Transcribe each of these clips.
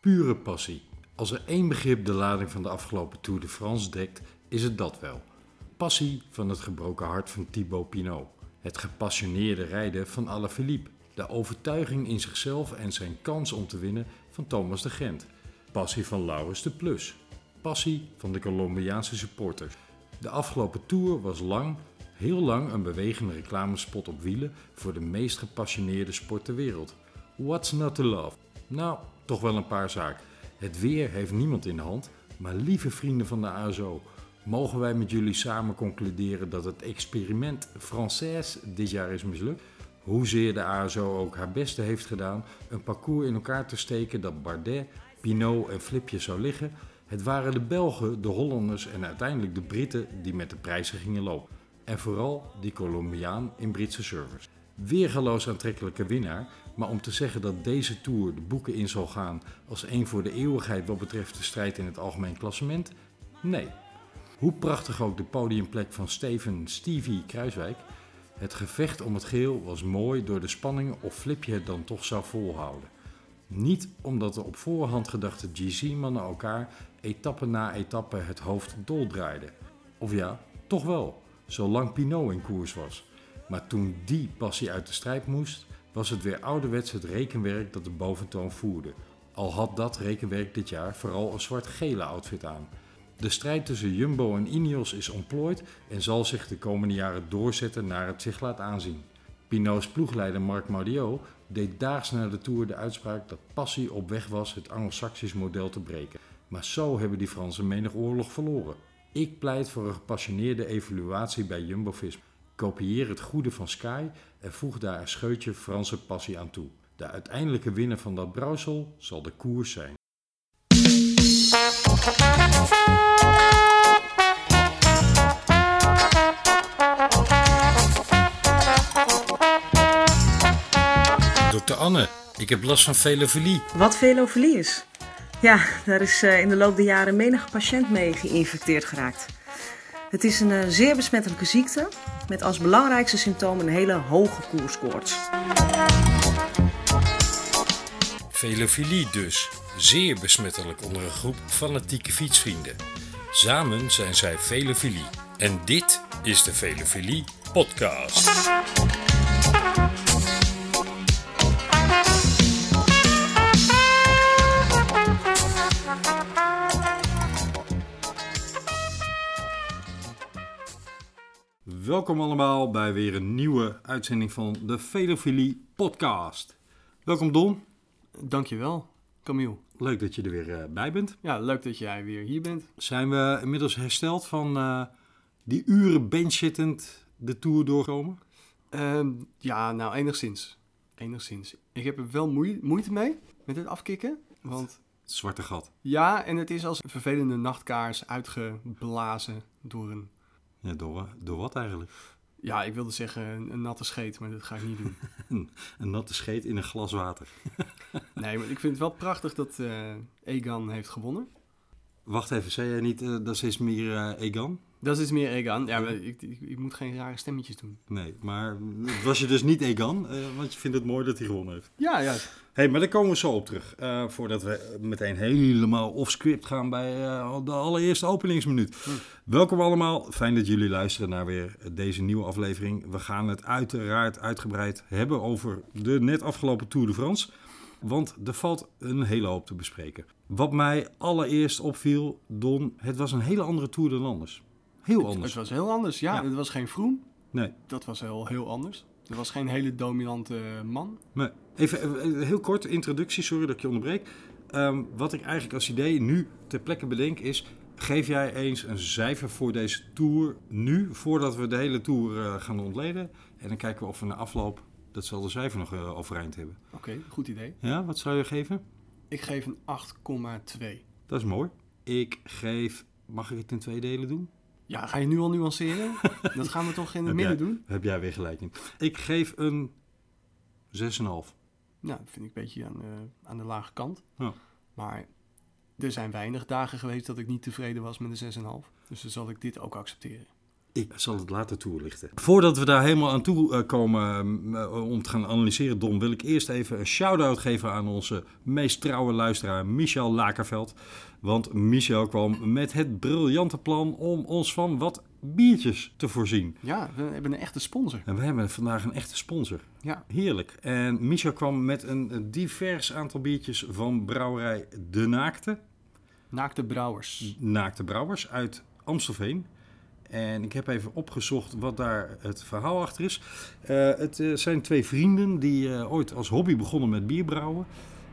Pure passie. Als er één begrip de lading van de afgelopen Tour de France dekt, is het dat wel. Passie van het gebroken hart van Thibaut Pinot. Het gepassioneerde rijden van Alaphilippe. De overtuiging in zichzelf en zijn kans om te winnen van Thomas de Gent. Passie van Laurens de Plus. Passie van de Colombiaanse supporters. De afgelopen Tour was lang, heel lang een bewegende reclamespot op wielen voor de meest gepassioneerde sport ter wereld. What's not to love? Nou, toch wel een paar zaken. Het weer heeft niemand in de hand, maar lieve vrienden van de ASO, mogen wij met jullie samen concluderen dat het experiment Française dit jaar is mislukt? Hoezeer de ASO ook haar beste heeft gedaan een parcours in elkaar te steken dat Bardet, Pinot en Flipje zou liggen, het waren de Belgen, de Hollanders en uiteindelijk de Britten die met de prijzen gingen lopen. En vooral die Colombiaan in Britse service. Weergeloos aantrekkelijke winnaar, maar om te zeggen dat deze Tour de boeken in zal gaan als één voor de eeuwigheid wat betreft de strijd in het algemeen klassement? Nee. Hoe prachtig ook de podiumplek van Steven Stevie Kruiswijk, het gevecht om het geel was mooi door de spanning of Flipje het dan toch zou volhouden. Niet omdat de op voorhand gedachte GC-mannen elkaar etappe na etappe het hoofd doldraaiden. Of ja, toch wel, zolang Pinot in koers was. Maar toen die passie uit de strijd moest, was het weer ouderwets het rekenwerk dat de boventoon voerde. Al had dat rekenwerk dit jaar vooral een zwart-gele outfit aan. De strijd tussen Jumbo en Ineos is ontplooid en zal zich de komende jaren doorzetten naar het zich laat aanzien. Pinot's ploegleider Marc Maudiot deed daags na de Tour de uitspraak dat passie op weg was het Anglo-Saxisch model te breken. Maar zo hebben die Fransen menig oorlog verloren. Ik pleit voor een gepassioneerde evaluatie bij Jumbo-Visma. Kopieer het goede van Sky en voeg daar een scheutje Franse passie aan toe. De uiteindelijke winnaar van dat brouwsel zal de koers zijn. Dokter Anne, ik heb last van velofilie. Wat velofilie is? Ja, daar is eh, in de loop der jaren menige patiënt mee geïnfecteerd geraakt. Het is een eh, zeer besmettelijke ziekte met als belangrijkste symptoom een hele hoge koerskoorts. Velofilie dus, zeer besmettelijk onder een groep fanatieke fietsvrienden. Samen zijn zij Velofilie. En dit is de Velofilie podcast. Welkom allemaal bij weer een nieuwe uitzending van de Velofilie podcast. Welkom Don, Dankjewel, Camille. leuk dat je er weer eh, bij bent. Ja, leuk dat jij weer hier bent. Zijn we inmiddels hersteld van eh, die uren benchzittend de Tour doorkomen? Ehm, ja, nou, enigszins. Enigszins. Ik heb er wel moei- moeite mee met het afkicken. Want Het zwarte gat. ja, en het is als een vervelende nachtkaars uitgeblazen door een... Ja, door, door wat eigenlijk? Ja, ik wilde zeggen een, een natte scheet, maar dat ga ik niet doen. Een, een natte scheet in een glas water. Nee, maar ik vind het wel prachtig dat eh, Egan heeft gewonnen. Wacht even, zei jij niet eh, dat is meer eh, Egan? Dat is meer Egan. Ja, maar ik, ik, ik moet geen rare stemmetjes doen. Nee, maar het was je dus niet Egan, eh, want je vindt het mooi dat hij gewonnen heeft. Ja, ja. Hé, hey, maar daar komen we zo op terug. eh, voordat we meteen helemaal off-script gaan bij eh, de allereerste openingsminuut. Welkom allemaal. Fijn dat jullie luisteren naar weer deze nieuwe aflevering. We gaan het uiteraard uitgebreid hebben over de net afgelopen Tour de France. Want er valt een hele hoop te bespreken. Wat mij allereerst opviel, Don, het was een hele andere Tour dan anders. Heel Het anders. was heel anders. Ja, Ja. het was geen Vroom. Nee. Dat was heel, heel anders. Er was geen hele dominante man. Nee. Even, eh, heel kort, introductie, sorry dat ik je onderbreek. Ehm, wat ik eigenlijk als idee nu ter plekke bedenk is... geef jij eens een cijfer voor deze tour nu... voordat we de hele tour eh, gaan ontleden. En dan kijken we of we na afloop datzelfde cijfer nog eh, overeind hebben. Oké, goed idee. Ja, wat zou je geven? Ik geef een 8,2. Dat is mooi. Ik geef... Mag ik het in twee delen doen? Ja, ga je nu al nuanceren? dat gaan we toch in het Heb jij- midden doen? Heb jij weer gelijk in. Ik geef een 6,5. Nou, dat vind ik een beetje aan, eh, aan de lage kant. Ja. Maar er zijn weinig dagen geweest dat ik niet tevreden was met een 6,5. Dus dan zal ik dit ook accepteren. Ik zal het later toelichten. Voordat we daar helemaal aan toe eh, komen mm, eh, om te gaan analyseren, Don, wil ik eerst even een shout-out geven aan onze meest trouwe luisteraar Michel Lakerveld. Want Michel kwam met het briljante plan om ons van wat biertjes te voorzien. Ja, we hebben een echte sponsor. En we hebben vandaag een echte sponsor. Ja. Heerlijk. En Michel kwam met een divers aantal biertjes van brouwerij De Naakte. Naakte Brouwers. Naakte Brouwers uit Amstelveen. En ik heb even opgezocht wat daar het verhaal achter is. Eh, het eh, zijn twee vrienden die eh, ooit als hobby begonnen met bierbrouwen.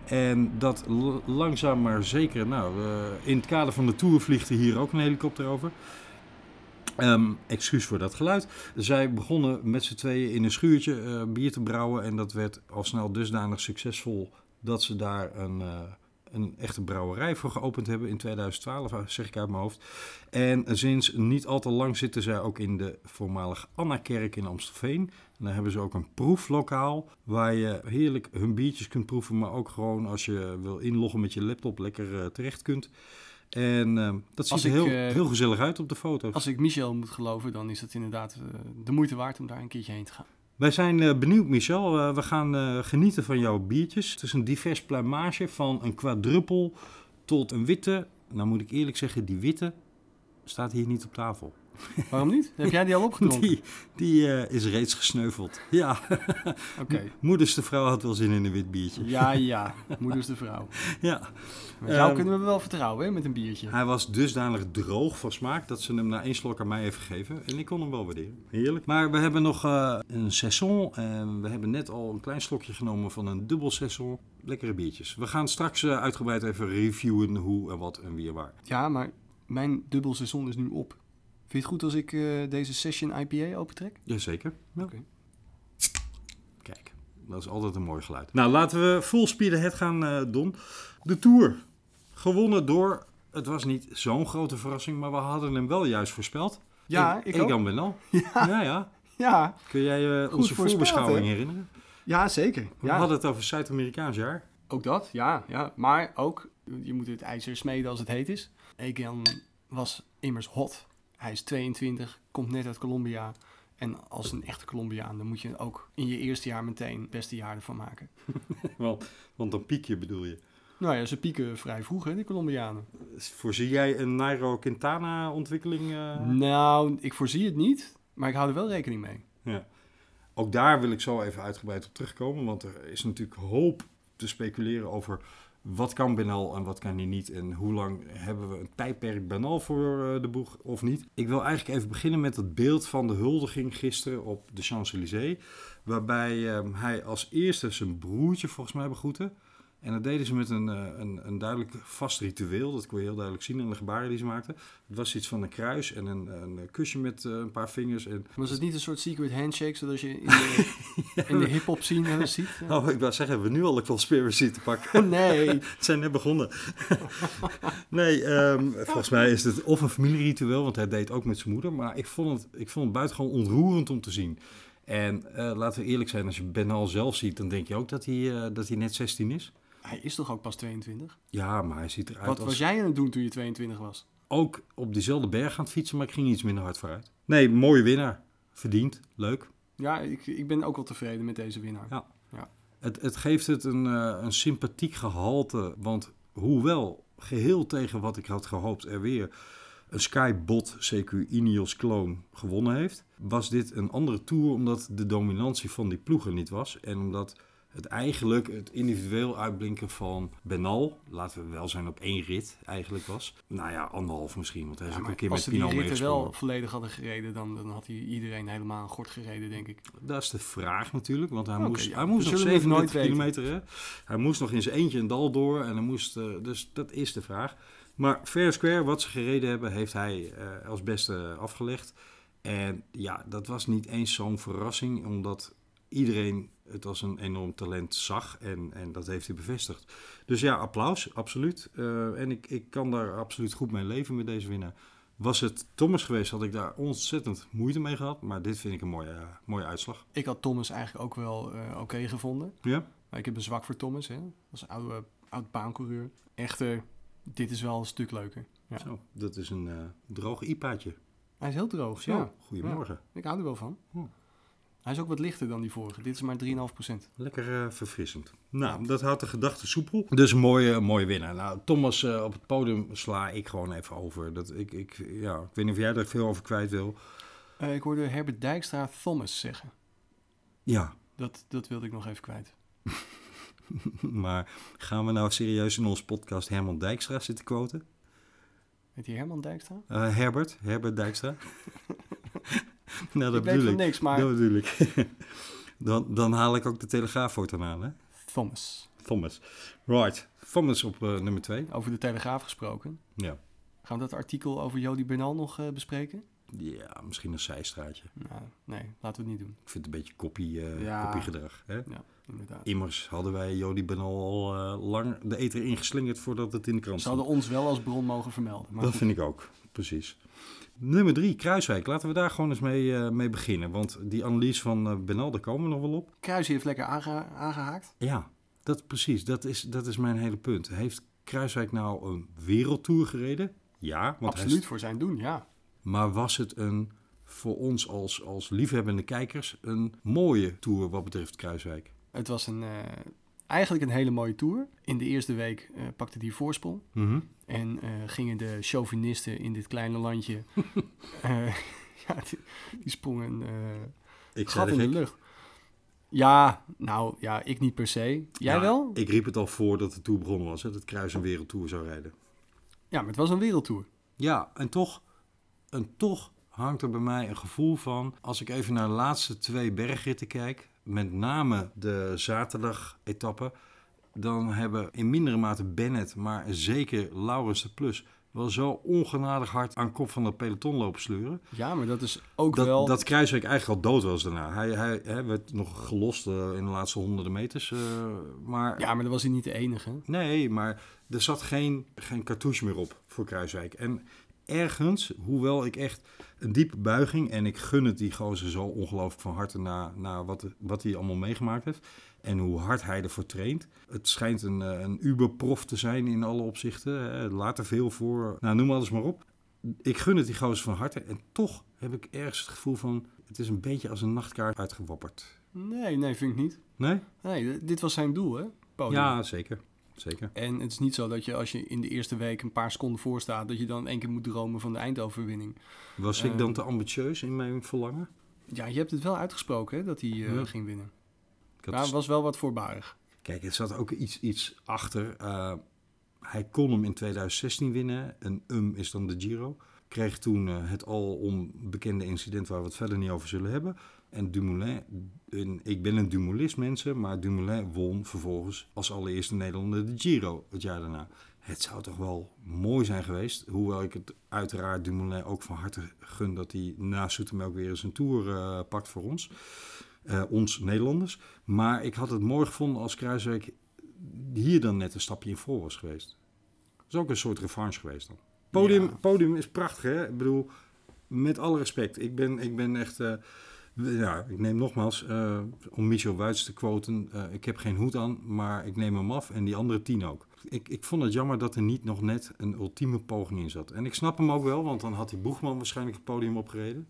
En dat l- langzaam maar zeker, nou, eh, in het kader van de tour vliegt er hier ook een helikopter over. Ehm, excuus voor dat geluid. Zij begonnen met z'n tweeën in een schuurtje eh, bier te brouwen. En dat werd al snel dusdanig succesvol dat ze daar een, eh, een echte brouwerij voor geopend hebben in 2012, zeg ik uit mijn hoofd. En sinds niet al te lang zitten zij ook in de voormalige Annakerk in Amstelveen. En daar hebben ze ook een proeflokaal waar je heerlijk hun biertjes kunt proeven, maar ook gewoon als je wil inloggen met je laptop lekker eh, terecht kunt. En eh, dat ziet Als er ik, heel, eh, heel gezellig uit op de foto's. Als ik Michel moet geloven, dan is dat inderdaad eh, de moeite waard om daar een keertje heen te gaan. Wij zijn eh, benieuwd, Michel. Eh, we gaan eh, genieten van jouw biertjes. Het is een divers pluimage van een kwadruppel tot een witte. Nou moet ik eerlijk zeggen, die witte staat hier niet op tafel. Waarom niet? Heb jij die al opgedronken? Die, die eh, is reeds gesneuveld. Ja, Oké. moeders de vrouw had wel zin in een wit biertje. Ja, ja. Moeders de vrouw. Ja. Met jou Ehm, kunnen we wel vertrouwen, hè, met een biertje. Hij was dusdanig droog van smaak dat ze hem na één slok aan mij heeft gegeven. En ik kon hem wel waarderen. Heerlijk. Maar we hebben nog eh, een saison. En we hebben net al een klein slokje genomen van een dubbel saison. Lekkere biertjes. We gaan straks eh, uitgebreid even reviewen hoe en wat en wie en waar. Ja, maar mijn dubbel seizoen is nu op. Vind je het goed als ik eh, deze session IPA opentrek? Jazeker. Ja. Oké. Kijk, dat is altijd een mooi geluid. Nou, laten we full speed ahead gaan, eh, Don. De Tour. Gewonnen door... Het was niet zo'n grote verrassing, maar we hadden hem wel juist voorspeld. Ja, ik ook. Egan Bernal. ja, ja. Ja, Kun jij eh, onze voorspeld, voorbeschouwing hè? herinneren? ja zeker. We hadden het over Zuid-Amerikaans jaar. Ook dat, ja, ja. Maar ook, je moet het ijzer smeden als het heet is. Egan was immers hot. Hij is 22, komt net uit Colombia. En als een echte Colombiaan, dan moet je ook in je eerste jaar meteen het beste jaar ervan maken. Want, want dan piek je bedoel je. Nou ja, ze pieken vrij vroeg, hè, de Colombianen. Voorzie jij een Nairo Quintana ontwikkeling? eh? Nou, ik voorzie het niet, maar ik hou er wel rekening mee. Ja. Ook daar wil ik zo even uitgebreid op terugkomen. Want er is natuurlijk hoop te speculeren over wat kan Benal en wat kan hij niet. En hoe lang hebben we een tijdperk Benal voor eh, de boeg of niet. Ik wil eigenlijk even beginnen met het beeld van de huldiging gisteren op de Champs-Élysées. Waarbij eh, hij als eerste zijn broertje volgens mij begroette. En dat deden ze met een, eh, een, een duidelijk vast ritueel. Dat kon je heel duidelijk zien aan de gebaren die ze maakten. Het was iets van een kruis en een, een kusje met eh, een paar vingers. En Was het niet een soort secret handshake, zoals je in de, in de hip-hop scene wel eens ziet? Oh, Nou, ik wou zeggen, hebben we nu al een conspiracy te pakken. Nee. Het zijn net begonnen. nee, ehm, volgens mij is het of een familieritueel, want hij deed ook met zijn moeder. Maar ik vond het, ik vond het buitengewoon ontroerend om te zien. En eh, laten we eerlijk zijn, als je Benal zelf ziet, dan denk je ook dat hij, eh, dat hij net 16 is. Hij is toch ook pas 22? Ja, maar hij ziet eruit Wat als... was jij aan het doen toen je 22 was? Ook op diezelfde berg aan het fietsen, maar ik ging iets minder hard vooruit. Nee, mooie winnaar. Verdiend. Leuk. Ja, ik, ik ben ook wel tevreden met deze winnaar. Ja. Ja. Het, het geeft het een, eh, een sympathiek gehalte. Want hoewel geheel tegen wat ik had gehoopt er weer een Skybot CQ Ineos clone gewonnen heeft, was dit een andere tour omdat de dominantie van die ploegen niet was. En omdat het eigenlijk het individueel uitblinken van Benal, laten we wel zijn op één rit eigenlijk was. Nou ja, anderhalf misschien, want hij is Ja, ook maar een keer als met ze die Pinot ritten wel meegesprongen. volledig hadden gereden, dan, dan had hij iedereen helemaal een gort gereden, denk ik. Dat is de vraag natuurlijk, want hij Oké, moest, ja. hij moest We nog zullen het nooit 37 kilometer. Hè? Hij moest nog in zijn eentje een dal door. En hij moest, eh, dus dat is de vraag. Maar fair en square, wat ze gereden hebben, heeft hij eh, als beste afgelegd. En ja, dat was niet eens zo'n verrassing, omdat iedereen het als een enorm talent zag. En, en dat heeft hij bevestigd. Dus ja, applaus, absoluut. Eh, en ik, ik kan daar absoluut goed mee leven met deze winnaar. Was het Thomas geweest, had ik daar ontzettend moeite mee gehad. Maar dit vind ik een mooie, eh, mooie uitslag. Ik had Thomas eigenlijk ook wel eh, oké gevonden. Ja? Maar ik heb een zwak voor Thomas, hè. Als oude, oud baancoureur. Echter, dit is wel een stuk leuker. Ja. Zo, dat is een eh, droog IPA'tje. Oké, Hij is heel droog. Zo, Ja, goedemorgen. ik hou er wel van. Hm. Hij is ook wat lichter dan die vorige. Dit is maar 3,5%. Lekker eh, verfrissend. Nou, dat houdt de gedachte soepel. Dus een mooie, een mooie winnaar. Nou, Thomas eh, op het podium sla ik gewoon even over. Dat, ik, ik, ja, ik weet niet of jij daar veel over kwijt wil. Eh, ik hoorde Herbert Dijkstra Thomas zeggen. Ja, Dat, dat wilde ik nog even kwijt. maar gaan we nou serieus in onze podcast Herman Dijkstra zitten quoten? Heet hij Herman Dijkstra? Eh, Herbert, Herbert Dijkstra. nou, dat ik weet bedoel van ik. niks, maar Dat bedoel ik. dan, dan haal ik ook de Telegraaf voortaan aan, hè? Thomas. Thomas. Right, Thomas op eh, nummer twee. Over de Telegraaf gesproken. Ja. Gaan we dat artikel over Jody Bernal nog eh, bespreken? ja, misschien een zijstraatje. Nou, nee, laten we het niet doen. Ik vind het een beetje kopie, eh Ja. kopiegedrag. Hè? Inderdaad. Immers hadden wij Jody Benal al eh, lang de eter ingeslingerd voordat het in de krant Ze stond. hadden ons wel als bron mogen vermelden. Maar Dat goed. vind ik ook, precies. Nummer drie, Kruiswijk. Laten we daar gewoon eens mee, eh, mee beginnen. Want die analyse van eh, Benal, daar komen we nog wel op. Kruijs heeft lekker aange- aangehaakt. Ja, dat precies. Dat is, dat is mijn hele punt. Heeft Kruiswijk nou een wereldtour gereden? Ja, want hij Absoluut voor zijn doen, ja. Maar was het een, voor ons als, als liefhebbende kijkers een mooie tour wat betreft Kruiswijk? Het was een, eh, eigenlijk een hele mooie tour. In de eerste week eh, pakte hij voorsprong. Mhm. En eh, gingen de chauvinisten in dit kleine landje... eh, ja, die, die sprongen eh, Ik gat zei het in de gek. lucht. Ja, nou ja, ik niet per se. Jij Ja, wel? Ik riep het al voor dat de tour begonnen was, hè, dat Kruis een wereldtour zou rijden. Ja, maar het was een wereldtour. Ja, en toch, en toch hangt er bij mij een gevoel van. Als ik even naar de laatste twee bergritten kijk, met name de zaterdag-etappe, dan hebben in mindere mate Bennett, maar zeker Laurens de Plus, wel zo ongenadig hard aan kop van dat peloton lopen sleuren. Ja, maar dat is ook Dat, wel... dat Kruiswijk eigenlijk al dood was daarna. Hij, hij, hè, werd nog gelost eh, in de laatste honderden meters. eh, maar Ja, maar dat was hij niet de enige. Nee, maar er zat geen, geen cartouche meer op voor Kruiswijk. En ergens, hoewel ik echt een diepe buiging... en ik gun het die gozer zo ongelooflijk van harte... na, na wat, wat hij allemaal meegemaakt heeft en hoe hard hij ervoor traint. Het schijnt een, eh, een uberprof te zijn in alle opzichten. hè. Laat er veel voor, nou noem alles maar op. Ik gun het die gozer van harte. En toch heb ik ergens het gevoel van... het is een beetje als een nachtkaart uitgewapperd. Nee, nee, vind ik niet. Nee? Nee, d- dit was zijn doel, hè? Podium. Ja, zeker. Zeker. En het is niet zo dat je als je in de eerste week een paar seconden voor staat, dat je dan in één keer moet dromen van de eindoverwinning. Was ik dan te ambitieus in mijn verlangen? Ja, je hebt het wel uitgesproken hè, dat hij eh, Ja. ging winnen. Ik had Maar het was wel wat voorbarig. Kijk, er zat ook iets, iets achter. Eh, hij kon hem in 2016 winnen. Een um is dan de Giro. Kreeg toen eh, het al onbekende incident waar we het verder niet over zullen hebben. En Dumoulin, en ik ben een Dumoulist mensen, maar Dumoulin won vervolgens als allereerste Nederlander de Giro het jaar daarna. Het zou toch wel mooi zijn geweest, hoewel ik het uiteraard Dumoulin ook van harte gun dat hij na Zoetermelk weer eens een tour eh, pakt voor ons. Eh, ons Nederlanders. Maar ik had het mooi gevonden als Kruiswijk hier dan net een stapje in voor was geweest. Dat is ook een soort revanche geweest dan. Podium, Ja. podium is prachtig, hè? Ik bedoel, met alle respect. Ik ben, ik ben echt... eh, w- ja, ik neem nogmaals, eh, om Michel Wuits te quoten... eh, ik heb geen hoed aan, maar ik neem hem af en die andere tien ook. Ik, ik vond het jammer dat er niet nog net een ultieme poging in zat. En ik snap hem ook wel, want dan had die Boegman waarschijnlijk het podium opgereden.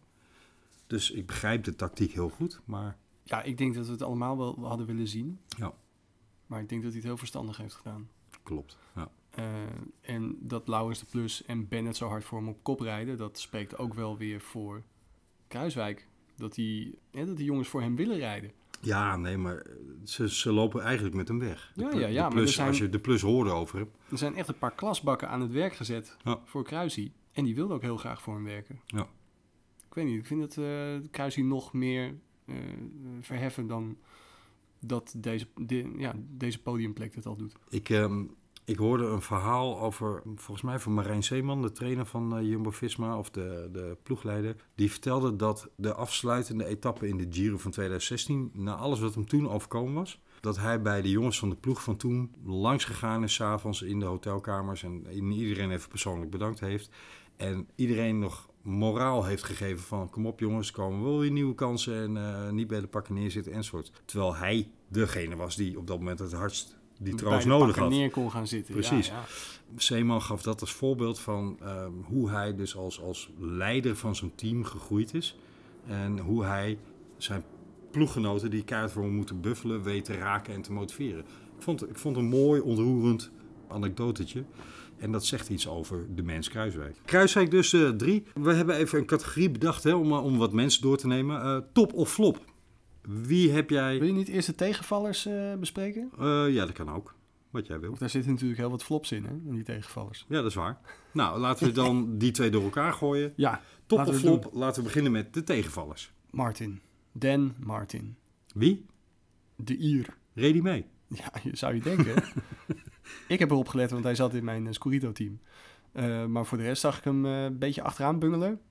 Dus ik begrijp de tactiek heel goed, maar... Ja, ik denk dat we het allemaal wel hadden willen zien. Ja. Maar ik denk dat hij het heel verstandig heeft gedaan. Klopt. Ja. Eh, en dat Lauwers de Plus en Bennett zo hard voor hem op kop rijden, dat spreekt ook wel weer voor Kruiswijk. Dat die, hè, dat die jongens voor hem willen rijden. ja, nee, maar eh, ze, ze lopen eigenlijk met hem weg. De Ja, plu- ja, ja, de maar plus, er zijn- Als je de plus hoorde over hem. Er zijn echt een paar klasbakken aan het werk gezet Ja. voor Kruisie. En die wilde ook heel graag voor hem werken. Ja. Ik weet niet, ik vind dat eh Kruisie nog meer eh, verheffen dan dat deze, de- ja, deze podiumplek dat al doet. Ik, ehm, ik hoorde een verhaal over, volgens mij van Marijn Zeeman, de trainer van eh, Jumbo-Visma of de, de ploegleider. Die vertelde dat de afsluitende etappe in de Giro van 2016, na alles wat hem toen overkomen was, dat hij bij de jongens van de ploeg van toen langs gegaan is, s'avonds in de hotelkamers en in- iedereen even persoonlijk bedankt heeft. En iedereen nog moraal heeft gegeven van kom op jongens, er komen wel weer nieuwe kansen en eh, niet bij de pakken neerzitten enzovoort. Terwijl hij degene was die op dat moment het hardst bij die trouwens de nodig pakken had. neer kon gaan zitten. Ja, Precies. ja. Zeeman gaf dat als voorbeeld van ehm, hoe hij dus als, als leider van zijn team gegroeid is. En hoe hij zijn ploeggenoten die keihard voor hem moeten buffelen, weet te raken en te motiveren. Ik vond, ik vond het een mooi, ontroerend anekdotetje. En dat zegt iets over de mens Kruiswijk. Kruiswijk dus eh, drie. We hebben even een categorie bedacht hè, om, eh, om wat mensen door te nemen. Eh, top of flop? Wie heb jij... Wil je niet eerst de tegenvallers eh, bespreken? Eh, ja, dat kan ook. Wat jij wil. Want daar zitten natuurlijk heel wat flops in, hè, in die tegenvallers. Ja, dat is waar. Nou, laten we dan die twee door elkaar gooien. Ja, Top Laten of we flop, laten we beginnen met de tegenvallers. Martin. Dan Martin. Wie? De Ier. Redi mee. Ja, je zou je denken. ik heb erop gelet, want hij zat in mijn Scurito-team. Eh, maar voor de rest zag ik hem eh, een beetje achteraan bungelen.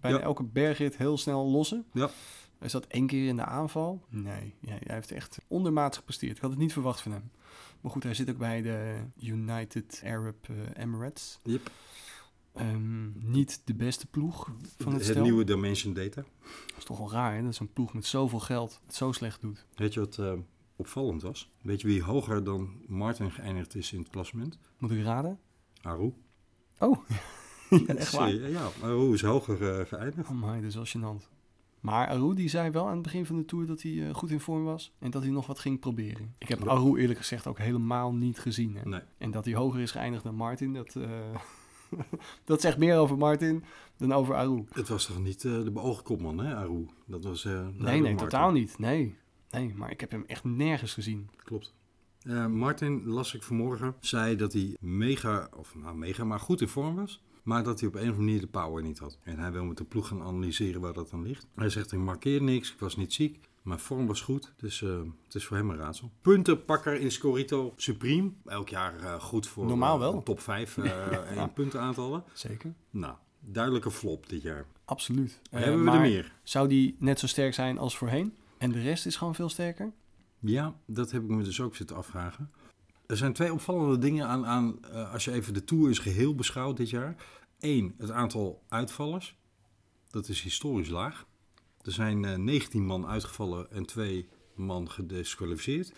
Bijna Ja. elke bergrit heel snel lossen. Ja. Hij zat één keer in de aanval. Nee, ja, hij heeft echt ondermaats gepresteerd. Ik had het niet verwacht van hem. Maar goed, hij zit ook bij de United Arab eh, Emirates. Yep. Ehm, niet de beste ploeg van het, het stel. nieuwe Dimension Data. Dat is toch wel raar, hè? Dat zo'n ploeg met zoveel geld het zo slecht doet. Weet je wat eh, opvallend was? Weet je wie hoger dan Martin geëindigd is in het klassement? Moet ik raden? Aru. Oh, ja, echt waar. Sorry, Ja, Aru is hoger eh, geëindigd. Oh my, dat is wel gênant. Maar Aru die zei wel aan het begin van de Tour dat hij eh, goed in vorm was. En dat hij nog wat ging proberen. Ik heb Ja. Aru eerlijk gezegd ook helemaal niet gezien. Hè? Nee. En dat hij hoger is geëindigd dan Martin, dat, eh, dat zegt meer over Martin dan over Aru. Het was toch niet eh, de beoogde kopman, hè, Aru? Dat was... eh, Nee, duidelijk nee, Martin. totaal niet. Nee. nee, maar ik heb hem echt nergens gezien. Klopt. Eh, Martin, las ik vanmorgen, zei dat hij mega, of nou mega, maar goed in vorm was. Maar dat hij op een of andere manier de power niet had. En hij wil met de ploeg gaan analyseren waar dat aan ligt. Hij zegt, ik markeer niks, ik was niet ziek. Mijn vorm was goed, dus eh, het is voor hem een raadsel. Puntenpakker in Scorito Supreme. Elk jaar eh, goed voor Normaal eh, wel. een top 5 eh in puntenaantallen. Zeker. Nou, duidelijke flop dit jaar. Absoluut. Eh, Hebben we maar er meer? Zou die net zo sterk zijn als voorheen? En de rest is gewoon veel sterker? Ja, dat heb ik me dus ook zitten afvragen. Er zijn twee opvallende dingen aan, aan eh, als je even de Tour is geheel beschouwt dit jaar. Eén, het aantal uitvallers. Dat is historisch laag. Er zijn eh, 19 man uitgevallen en twee man gedisqualificeerd.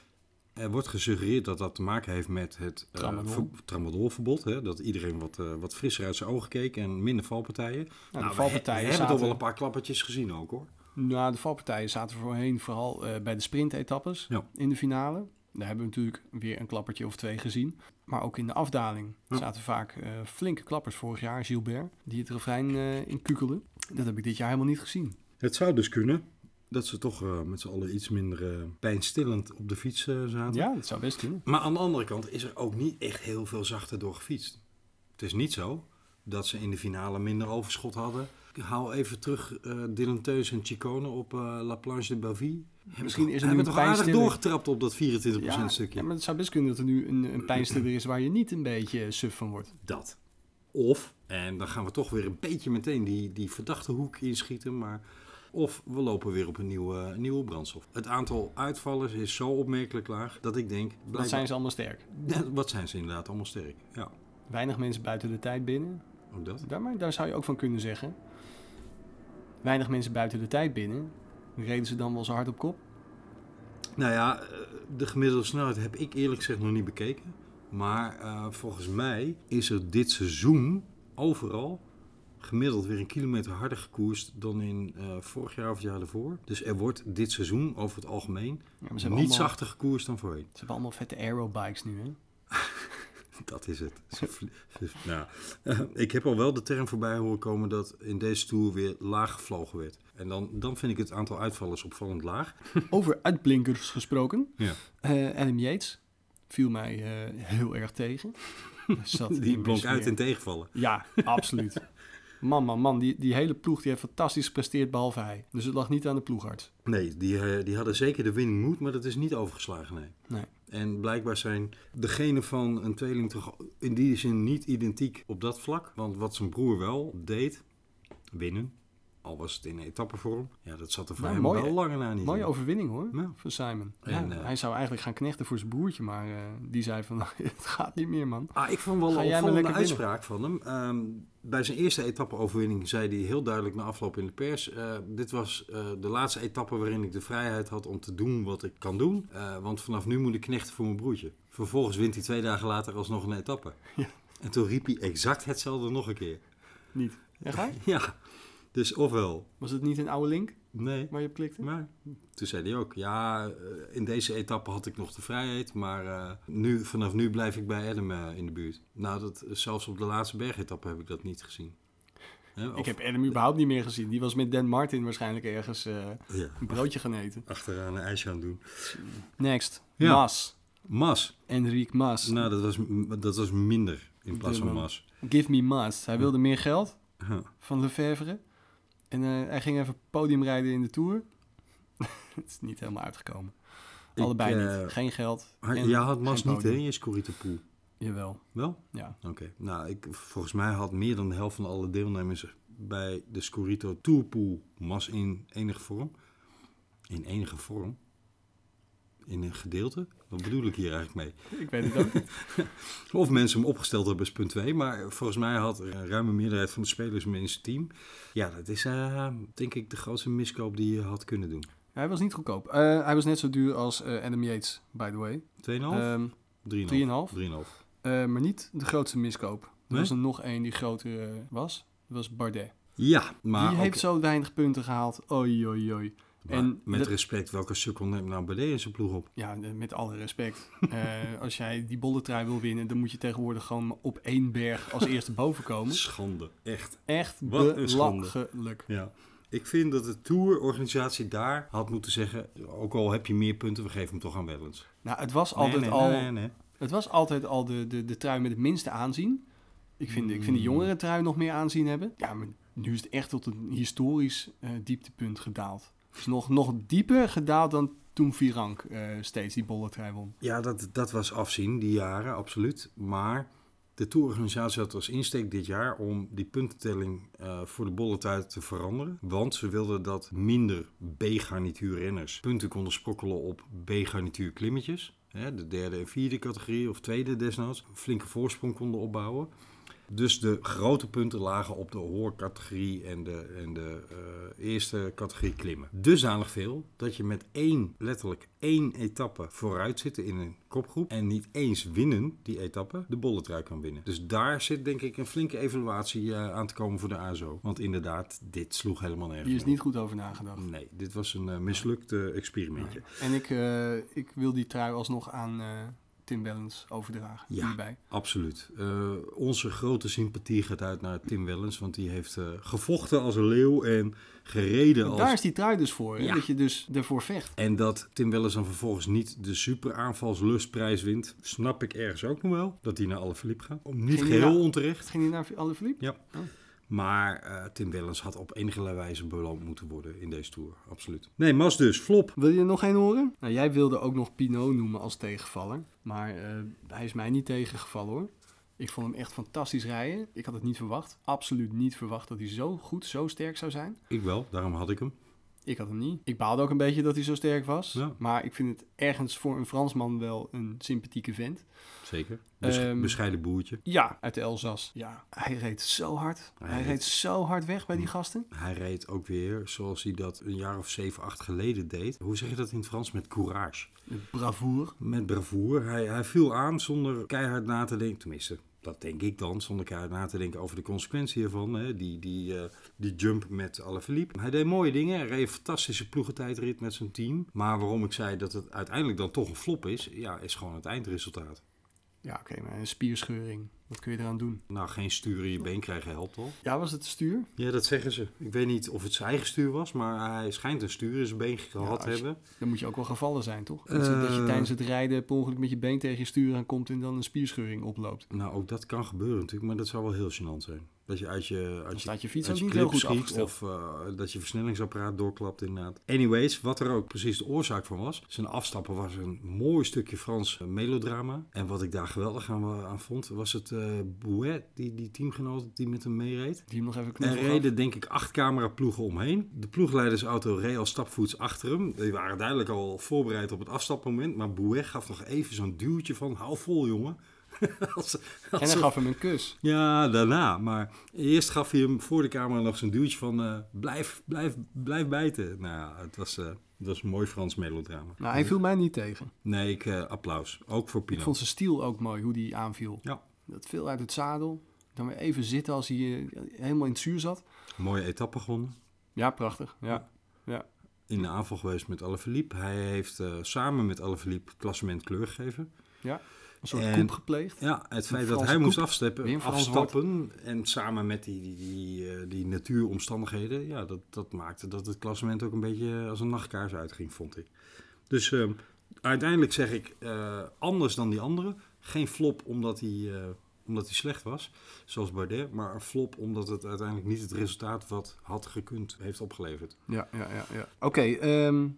Er wordt gesuggereerd dat dat te maken heeft met het eh, Tramadol. ver- tramadolverbod. Hè? Dat iedereen wat, eh, wat frisser uit zijn ogen keek en minder valpartijen. Nou, we he- valpartijen we hebben toch zaten- wel een paar klappertjes gezien ook hoor. Nou, de valpartijen zaten voorheen vooral eh, bij de sprintetappes Ja. in de finale. Daar hebben we natuurlijk weer een klappertje of twee gezien. Maar ook in de afdaling Ja. zaten vaak eh, flinke klappers vorig jaar. Gilbert, die het refrein eh inkukelde. Dat heb ik dit jaar helemaal niet gezien. Het zou dus kunnen dat ze toch eh, met z'n allen iets minder eh, pijnstillend op de fiets eh, zaten. Ja, dat zou best kunnen. Maar aan de andere kant is er ook niet echt heel veel zachter door gefietst. Het is niet zo dat ze in de finale minder overschot hadden. Ik hou even terug eh Dylan Teus en Chicone op eh, La Planche de Bavie. Hebben Misschien toch- is er nu hebben een toch aardig pijnstiller. doorgetrapt op dat 24% Ja, stukje. ja, maar het zou best kunnen dat er nu een, een pijnstiller is waar je niet een beetje eh, suf van wordt. Dat. Of, en dan gaan we toch weer een beetje meteen die, die verdachte hoek inschieten, maar... Of we lopen weer op een nieuwe, een nieuwe brandstof. Het aantal uitvallers is zo opmerkelijk laag dat ik denk... Dat blijkbaar- zijn ze allemaal sterk. Ja, wat zijn ze inderdaad allemaal sterk. Ja, Weinig mensen buiten de tijd binnen. ook dat. Daar, maar daar zou je ook van kunnen zeggen. Weinig mensen buiten de tijd binnen. Reden ze dan wel zo hard op kop? Nou ja, eh, de gemiddelde snelheid heb ik eerlijk gezegd nog niet bekeken. Maar eh, volgens mij is er dit seizoen overal gemiddeld weer een kilometer harder gekoerst dan in eh, vorig jaar of het jaar daarvoor. Dus er wordt dit seizoen over het algemeen Ja, maar niet ze hebben allemaal- zachter gekoerst dan voorheen. Ze hebben allemaal vette aerobikes nu, hè? Dat is het. Ze vlie- ze- nou, eh, ik heb al wel de term voorbij horen komen dat in deze tour weer laag gevlogen werd. En dan, dan vind ik het aantal uitvallers opvallend laag. Over uitblinkers gesproken. Ja. Eh Adam Yates viel mij eh, heel erg tegen. Zat Die immers blonk uit weer- in tegenvallen. Ja, absoluut. Man, man, man. Die, die hele ploeg die heeft fantastisch gepresteerd, behalve hij. Dus het lag niet aan de ploegarts. Nee, die, eh, die hadden zeker de winning moed, maar dat is niet overgeslagen, nee. Nee. En blijkbaar zijn de genen van een tweeling toch in die zin niet identiek op dat vlak. Want wat zijn broer wel deed, winnen, Al was het in etappevorm. Ja, dat zat er voor Nou, hem mooi, wel hè? lang na niet Mooie in. overwinning hoor, Ja. van Simon. En, ja, eh, hij zou eigenlijk gaan knechten voor zijn broertje, maar eh, die zei van, het gaat niet meer man. Ah, ik vond wel Ga een jij maar opvallende lekker winnen. uitspraak van hem. Ehm, bij zijn eerste etappe-overwinning zei hij heel duidelijk na afloop in de pers... eh, dit was eh, de laatste etappe waarin ik de vrijheid had om te doen wat ik kan doen. eh, want vanaf nu moet ik knechten voor mijn broertje. Vervolgens wint hij twee dagen later alsnog een etappe. Ja. En toen riep hij exact hetzelfde nog een keer. Niet. Ja, ga je? Ja, dus ofwel Was het niet een oude link nee, waar je op klikte? maar toen zei hij ook... Ja, eh, in deze etappe had ik nog de vrijheid, maar eh, nu, vanaf nu blijf ik bij Adam eh, in de buurt. Nou, dat, zelfs op de laatste bergetappe heb ik dat niet gezien. Hè, of- Ik heb Adam überhaupt niet meer gezien. Die was met Dan Martin waarschijnlijk ergens eh, ja, een broodje gaan eten. achteraan een ijsje aan doen. Next. Ja. Mas. Mas, Enrique Mas. nou dat was, m- dat was minder in plaats van man. Mas. Give me Mas. Hij wilde meer geld Huh. van Lefevre. En eh, hij ging even podium rijden in de Tour. Het is niet helemaal uitgekomen. Ik, Allebei eh, niet. Geen geld. Had- en ja, had Mas geen niet hè, podium. in je Scorito-pool. Jawel. Wel? Ja. Oké. Nou, ik, volgens mij had meer dan de helft van alle deelnemers bij de Scorito Tourpool Mas in enige vorm. In enige vorm? In een gedeelte? Wat bedoel ik hier eigenlijk mee? Ik weet het ook niet. Of mensen hem opgesteld hebben is punt 2. Maar volgens mij had een ruime meerderheid van de spelers hem in zijn team. Ja, dat is eh, denk ik de grootste miskoop die je had kunnen doen. 2,5? Hij was niet goedkoop. Eh, hij was net zo duur als eh, Adam Yates, by the way. Ehm, 3,5? 3,5. 3,5. Eh, maar niet de grootste miskoop. Er Nee? was er nog één die groter eh, was. Dat was Bardet. Ja, maar, die ook- heeft zo weinig punten gehaald. Oei, oei, oei. maar en met dat- respect, welke sukkel neemt nou Belé in zijn ploeg op? Ja, eh, met alle respect. Eh, als jij die bolletrui wil winnen, dan moet je tegenwoordig gewoon op één berg als eerste boven komen. Schande, echt. Echt Wat een schande. belachelijk. Ja. Ik vind dat de tourorganisatie daar had moeten zeggen... ook al heb je meer punten, we geven hem toch aan Wellens. Nou, het was altijd al, Nee, nee. Het was altijd al de, de, de trui met het minste aanzien. Ik vind, ik Hmm. vind de jongere trui nog meer aanzien hebben. Ja, maar nu is het echt tot een historisch eh, dieptepunt gedaald. Het is nog, nog dieper gedaald dan toen Virank eh, steeds die bolle trui won. Ja, dat, dat was afzien, die jaren, absoluut. Maar de tourorganisatie had als insteek dit jaar om die puntentelling eh, voor de bolletuit te veranderen. Want ze wilden dat minder B-garnituur renners punten konden sprokkelen op B-garnituur klimmetjes. Hè, de derde en vierde categorie, of tweede desnoods, een flinke voorsprong konden opbouwen. Dus de grote punten lagen op de hoorcategorie en de, en de eh, eerste categorie klimmen. Dusdanig veel dat je met één, letterlijk één etappe vooruit zit in een kopgroep. En niet eens winnen die etappe de bolletrui kan winnen. Dus daar zit denk ik een flinke evaluatie eh, aan te komen voor de ASO. Want inderdaad, dit sloeg helemaal nergens Hier is meer niet goed over nagedacht. op. Nee, dit was een eh, mislukt eh, experimentje. En ik, eh, ik wil die trui alsnog aan eh, Tim Bellens overdragen. Ja. Hierbij. Absoluut. Eh, onze grote sympathie gaat uit naar Tim Wellens, want die heeft eh, gevochten als een leeuw en gereden als... Daar is die trui dus voor. hè? Ja. Dat je dus ervoor vecht. En dat Tim Wellens dan vervolgens niet de super aanvalslustprijs wint, snap ik ergens ook nog wel. Dat hij naar Alaphilippe gaat. Om niet Ging hij geheel naar- onterecht. Ging die naar Alaphilippe? Ja. Maar eh, Tim Wellens had op enige wijze beloond moeten worden in deze tour. Absoluut. Nee, Mas dus. Flop. Wil je er nog één horen? Nou, jij wilde ook nog Pinot noemen als tegenvaller. Maar eh, hij is mij niet tegengevallen hoor. Ik vond hem echt fantastisch rijden. Ik had het niet verwacht. Absoluut niet verwacht dat hij zo goed, zo sterk zou zijn. Ik wel, daarom had ik hem. Ik had hem niet. Ik baalde ook een beetje dat hij zo sterk was. Ja. Maar ik vind het ergens voor een Fransman wel een sympathieke vent. Zeker. Bes- Ehm, bescheiden boertje. Ja, uit de Elzas. Ja, hij reed zo hard. Hij, Hij reed- Mm. reed zo hard weg bij die gasten. Hij reed ook weer zoals hij dat een jaar of zeven, acht geleden deed. Hoe zeg je dat in het Frans? Met courage. Bravoer. Met bravoer. Hij, hij viel aan zonder keihard na te denken. Tenminste, dat denk ik dan. Zonder keihard na te denken over de consequentie hiervan. Hè. Die, die, eh, die jump met Alaphilippe. Hij deed mooie dingen. Hij reed een fantastische ploegentijdrit met zijn team. Maar waarom ik zei dat het uiteindelijk dan toch een flop is... Ja, is gewoon het eindresultaat. Ja, oké, maar een spierscheuring. Wat kun je eraan doen? Nou, geen stuur in je been krijgen helpt al. Ja, was het stuur? Ja, dat zeggen ze. Ik weet niet of het zijn eigen stuur was, maar hij schijnt een stuur in zijn been gehad als je- hebben. Dan moet je ook wel gevallen zijn, toch? Dat, je- dat je Eh. tijdens het rijden per ongeluk met je been tegen je stuur aankomt en dan een spierscheuring oploopt. Nou, ook dat kan gebeuren natuurlijk, maar dat zou wel heel gênant zijn. Dat je uit je, uit je, staat je fiets uit ook niet heel clip goed schiet of eh, dat je versnellingsapparaat doorklapt inderdaad. Anyways, wat er ook precies de oorzaak van was. Zijn afstappen was een mooi stukje Frans eh, melodrama. En wat ik daar geweldig aan, aan vond, was het eh, eh, Bouet, die, die teamgenoot die met hem meereed. Die hem nog even Er knuffelen. reden denk ik acht cameraploegen omheen. De ploegleidersauto reed al stapvoets achter hem. Die waren duidelijk al voorbereid op het afstapmoment. Maar Bouet gaf nog even zo'n duwtje van hou vol jongen. Als- als En hij een- gaf hem een kus. Ja, daarna. Maar eerst gaf hij hem voor de camera nog zo'n duwtje van eh, blijf, blijf, blijf bijten. Nou ja, het was, eh, het was een mooi Frans melodrama. Nou, hij viel mij niet tegen. Nee, ik eh, applaus. Ook voor Ik Pino. vond zijn stiel ook mooi, hoe die aanviel. Ja, Dat viel uit het zadel. Dan weer even zitten als hij eh, helemaal in het zuur zat. mooie etappe gewonnen. Ja, prachtig. Ja. ja. In de aanval geweest met Alaphilippe. Hij heeft eh, samen met Alaphilippe het klassement kleur gegeven. ja. Een soort En- koep gepleegd. Ja, het feit dat Franse hij moest koep. Weer afsteppen, een Frans afstappen en samen met die, die, die, eh, die natuuromstandigheden, ja, dat, dat maakte dat het klassement ook een beetje eh, als een nachtkaars uitging, vond ik. Dus ehm, uiteindelijk zeg ik, eh, anders dan die anderen, geen flop omdat hij, eh, omdat hij slecht was, zoals Bardet, maar een flop omdat het uiteindelijk niet het resultaat wat had gekund heeft opgeleverd. Ja, ja, ja. ja. Oké, ehm,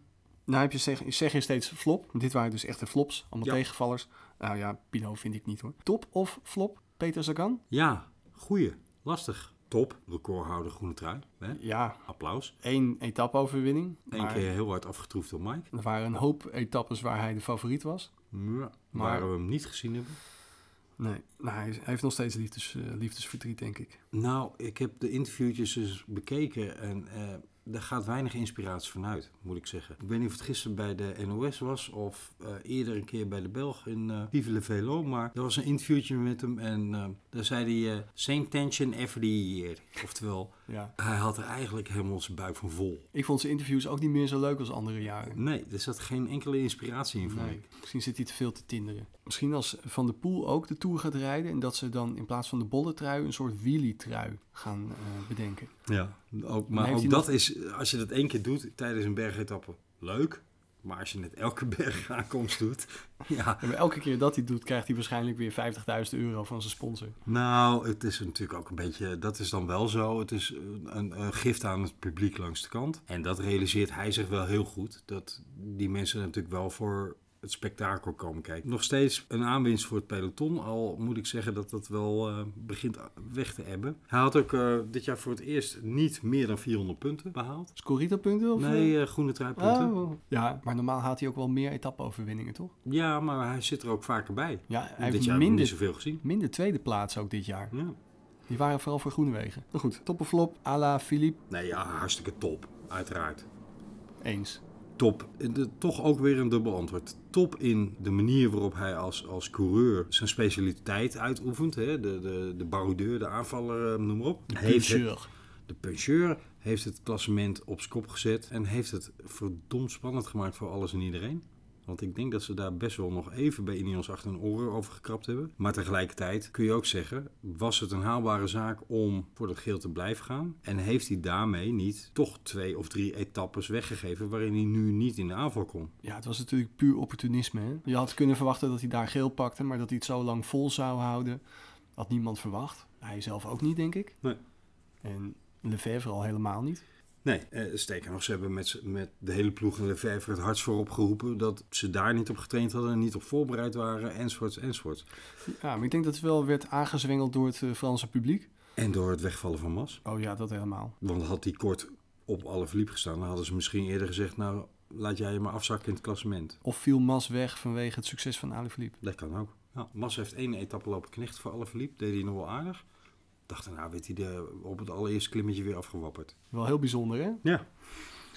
nou heb je zeg, zeg je steeds flop. Dit waren dus echte flops, allemaal Ja. tegenvallers. Nou ja, Pino vind ik niet hoor. Top of flop, Peter Sagan? Ja, goeie, lastig, top, recordhouder groene trui, hè? Ja, applaus. één etappe-overwinning. Eén maar keer heel hard afgetroefd door Mike. Er waren een hoop etappes waar hij de favoriet was. Ja, Maar- waar we hem niet gezien hebben. Nee, nou, hij, hij heeft nog steeds liefdes, eh, liefdesverdriet, denk ik. Nou, ik heb de interviewtjes dus bekeken en eh daar gaat weinig inspiratie van uit, moet ik zeggen. Ik weet niet of het gisteren bij de NOS was of eh, eerder een keer bij de Belg in eh Vive le Velo, maar er was een interviewtje met hem en eh, daar zei hij eh, same tension every year. Oftewel, Ja. hij had er eigenlijk helemaal zijn buik van vol. Ik vond zijn interviews ook niet meer zo leuk als andere jaren. Nee, er zat geen enkele inspiratie in, vond Nee, ik. misschien zit hij te veel te tinderen. Misschien als Van der Poel ook de Tour gaat rijden... en dat ze dan in plaats van de bolletrui een soort wheelie-trui gaan eh, bedenken. Ja, ook, heeft maar hij ook nog- dat is, als je dat één keer doet tijdens een bergetappe, leuk. Maar als je het elke bergaankomst doet, ja. Ja, maar elke keer dat hij doet, krijgt hij waarschijnlijk weer 50.000 euro van zijn sponsor. Nou, het is natuurlijk ook een beetje, dat is dan wel zo. Het is een, een gift aan het publiek langs de kant. En dat realiseert hij zich wel heel goed. Dat die mensen natuurlijk wel voor het spektakel komen kijken. Nog steeds een aanwinst voor het peloton. Al moet ik zeggen dat dat wel eh, begint weg te ebben. Hij had ook eh, dit jaar voor het eerst niet meer dan 400 punten behaald. Scorita-punten? Of Nee, eh, groene truipunten. Oh. Ja, maar normaal haalt hij ook wel meer etappe-overwinningen, toch? Ja, maar hij zit er ook vaker bij. Ja, hij Dit heeft jaar hebben we minder, niet zoveel gezien. minder tweede plaats ook dit jaar. Ja. Die waren vooral voor Groenewegen. Maar goed, toppenflop, à la Philippe, Nee, ja, hartstikke top. Uiteraard. eens. Top. Eh, De- toch ook weer een dubbel antwoord. Top in de manier waarop hij als, als coureur zijn specialiteit uitoefent. Hè? De, de, de baroudeur, de aanvaller, eh, noem maar op. Heeft het- Puncheur. de puncheur heeft het klassement op zijn kop gezet. En heeft het verdomd spannend gemaakt voor alles en iedereen. Want ik denk dat ze daar best wel nog even bij Ineos achter hun oren over gekrapt hebben. Maar tegelijkertijd kun je ook zeggen, was het een haalbare zaak om voor dat geel te blijven gaan? En heeft hij daarmee niet toch twee of drie etappes weggegeven waarin hij nu niet in de aanval kon? Ja, het was natuurlijk puur opportunisme. Hè? Je had kunnen verwachten dat hij daar geel pakte, maar dat hij het zo lang vol zou houden, had niemand verwacht. Hij zelf ook niet, denk ik. Nee. En Lefebvre al helemaal niet. Nee, eh, sterker nog, ze hebben met, z'n- met de hele ploeg en de vijver het hardst voor opgeroepen dat ze daar niet op getraind hadden en niet op voorbereid waren, enzovoorts, enzovoorts. Ja, maar ik denk dat het wel werd aangezwengeld door het eh, Franse publiek. En door het wegvallen van Mas. Oh ja, dat helemaal. Want had die kort op alle verliep gestaan, dan hadden ze misschien eerder gezegd: Nou, laat jij je maar afzakken in het klassement. Of viel Mas weg vanwege het succes van Alaphilippe? Dat kan ook. Nou, Mas heeft één etappe lopen knecht voor alle verliep, deed hij nog wel aardig. Dacht daarna werd hij de, op het allereerste klimmetje weer afgewapperd. Wel heel bijzonder, hè? Ja.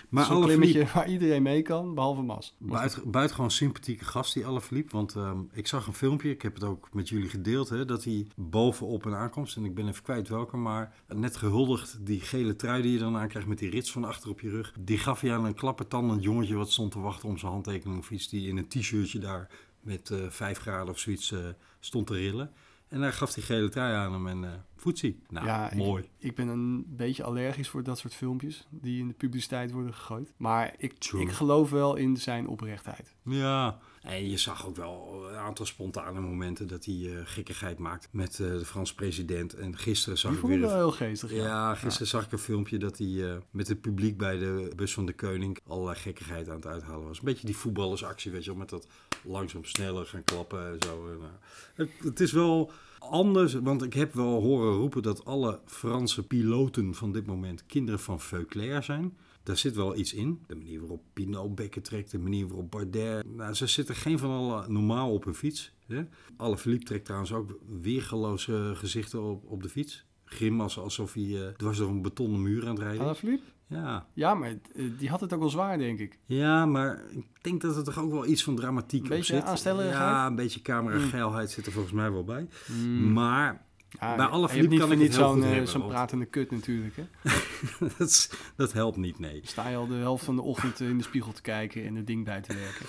Maar Zo'n alle klimmetje waar iedereen mee kan, behalve Mas. Buiten, buitengewoon sympathieke gast die alle verliep. Want ehm, ik zag een filmpje, ik heb het ook met jullie gedeeld, hè, dat hij bovenop een aankomst, en ik ben even kwijt welke, maar net gehuldigd, die gele trui die je dan aankrijgt met die rits van achter op je rug, die gaf hij aan een klappertandend jongetje wat stond te wachten om zijn handtekening of iets, die in een t-shirtje daar met eh 5 graden of zoiets eh, stond te rillen. En daar gaf die gele trui aan hem en eh voetsie. Nou, Ja, ik- mooi. Ik ben een beetje allergisch voor dat soort filmpjes die in de publiciteit worden gegooid. Maar ik, True. ik geloof wel in zijn oprechtheid. Ja, en je zag ook wel een aantal spontane momenten dat hij eh, gekkigheid maakt met eh, de Franse president. En gisteren zag Die ik vond ik weer wel een... heel geestig. Ja. Ja, gisteren zag ik een filmpje dat hij eh, met het publiek bij de bus van de Koning allerlei gekkigheid aan het uithalen was. Een beetje die voetballersactie, weet je wel, met dat langzaam sneller gaan klappen en zo. En, eh, het, het is wel anders, want ik heb wel horen roepen dat alle Franse piloten van dit moment kinderen van Veuclair zijn. Daar zit wel iets in. De manier waarop Pinot bekken trekt, de manier waarop Bardet... Nou, ze zitten geen van alle normaal op hun fiets. Hè? Alaphilippe trekt trouwens ook weergeloze gezichten op, op de fiets. Grimassen alsof hij eh, dwars door een betonnen muur aan het rijden is. Alaphilippe? Ja. Ja, maar eh, die had het ook wel zwaar, denk ik. ja, maar ik denk dat er toch ook wel iets van dramatiek op Beetje zit. aanstellerigheid? Ja, een beetje camerageilheid zit er volgens mij wel bij. Maar Hmm. Ja, Bij je- Alaphilippe je kan hebt niet voor ik het niet heel zo'n, goed eh, hebben, Zo'n want- pratende kut natuurlijk, hè. dat, is- dat helpt niet, nee. Sta je al de helft van de ochtend eh, in de spiegel te kijken en het ding bij te werken.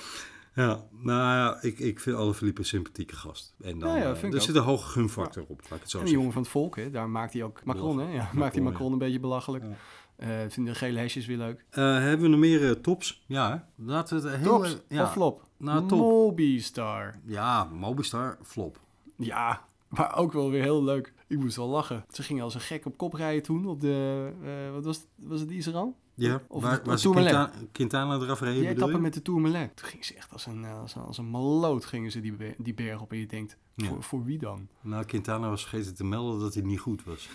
Ja, nou ja, ik, ik vind Alaphilippe een sympathieke gast. En dan, Ja, ja, eh, vind ik er ook. zit een hoge gunfactor op, laat ik het zo En die zeggen. jongen van het volk, hè. Daar maakt hij ook Macron, hè. Ja, maakt hij Macron, Macron een beetje belachelijk. Ja. Eh, vinden de gele hesjes weer leuk. Eh, hebben we nog meer eh, tops? Ja, hè? laten we het hele... Tops ja. of flop? Nou, top. Mobistar. Ja, Mobistar, flop. Ja, maar ook wel weer heel leuk. Ik moest wel lachen. Ze gingen als een gek op kop rijden toen op de... eh, wat was het? Was het Israël? Ja, Of waar, de- waar de ze Tourmalet. Quintana, Quintana eraf Die reden, bedoel je? etappe met de Tourmalet. Toen gingen ze echt als een, eh, als een, als een maloot gingen ze die, be- die berg op. En je denkt, Ja. voor, voor wie dan? Nou, Quintana was vergeten te melden dat hij niet goed was.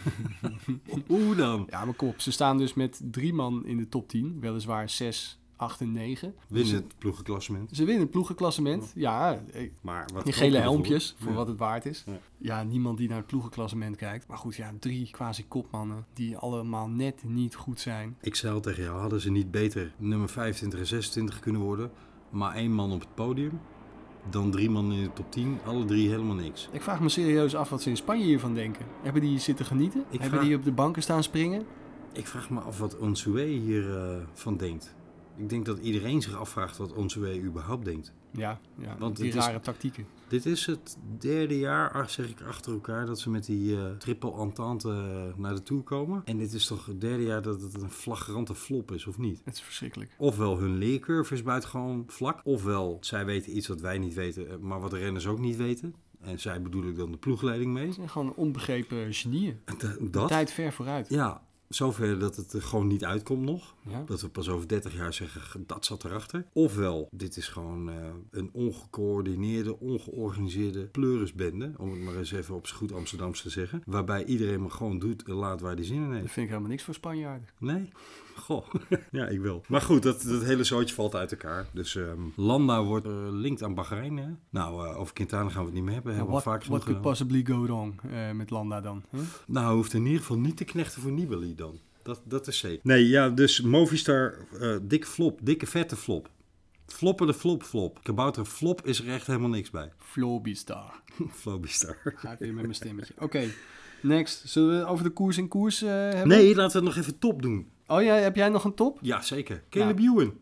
Hoe dan? Ja, maar kom op. Ze staan dus met drie man in de top 10. Weliswaar 6, 8 en 9. Winnen het ploegenklassement. Ze winnen het ploegenklassement. Ja, eh, Maar wat die gele ook ervoor. helmpjes, voor Ja. wat het waard is. Ja. Ja. niemand die naar het ploegenklassement kijkt. Maar goed, ja, drie quasi-kopmannen die allemaal net niet goed zijn. Ik zei al tegen jou, hadden ze niet beter nummer 25 en 26 kunnen worden, maar één man op het podium, dan drie man in de top 10, alle drie helemaal niks. Ik vraag me serieus af wat ze in Spanje hiervan denken. Hebben die zitten genieten? Hebben vraag- die op de banken staan springen? Ik vraag me af wat Onsue hier eh, van denkt. Ik denk dat iedereen zich afvraagt wat Onsue überhaupt denkt. Ja, ja Want Want die het is- rare tactieken. Dit is het derde jaar, ach, zeg ik achter elkaar, dat ze met die eh, triple entente eh, naar de Tour komen. En dit is toch het derde jaar dat het een flagrante flop is, of niet? Het is verschrikkelijk. Ofwel hun leercurve is buitengewoon vlak. Ofwel zij weten iets wat wij niet weten, eh, maar wat de renners ook niet weten. En zij bedoel ik dan de ploegleiding mee. Het zijn gewoon onbegrepen genieën. D- Dat? Tijd ver vooruit. Ja, zover dat het er gewoon niet uitkomt nog. Ja. Dat we pas over 30 jaar zeggen, "G- dat zat erachter. Ofwel, dit is gewoon eh, een ongecoördineerde, ongeorganiseerde pleurisbende. Om het maar eens even op zijn goed Amsterdams te zeggen. Waarbij iedereen maar gewoon doet en laat waar hij zin in heeft. Dat vind ik helemaal niks voor Spanjaarden. Nee? Goh. ja, ik wel. Maar goed, dat, dat hele zootje valt uit elkaar. Dus ehm, Landa wordt eh linkt aan Bahrein, hè? Nou, eh, over Quintana gaan we het niet meer hebben. Hebben we What, al vaak what genoeg eh, could gedaan. possibly go wrong eh, met Landa dan? hè? Nou, hij hoeft in ieder geval niet te knechten voor Nibali dan. Dat, dat is zeker. Nee, ja, dus Movistar, eh dikke flop. Dikke vette flop. Floppen de flop flop. Kabouter flop is er echt helemaal niks bij. Flobistar. Flobistar. Ga ik weer met mijn stemmetje. Oké, next. Zullen we over de koers in koers eh, hebben? Nee, laten we het nog even top doen. Oh ja, heb jij nog een top? Ja, zeker. Caleb Ewan.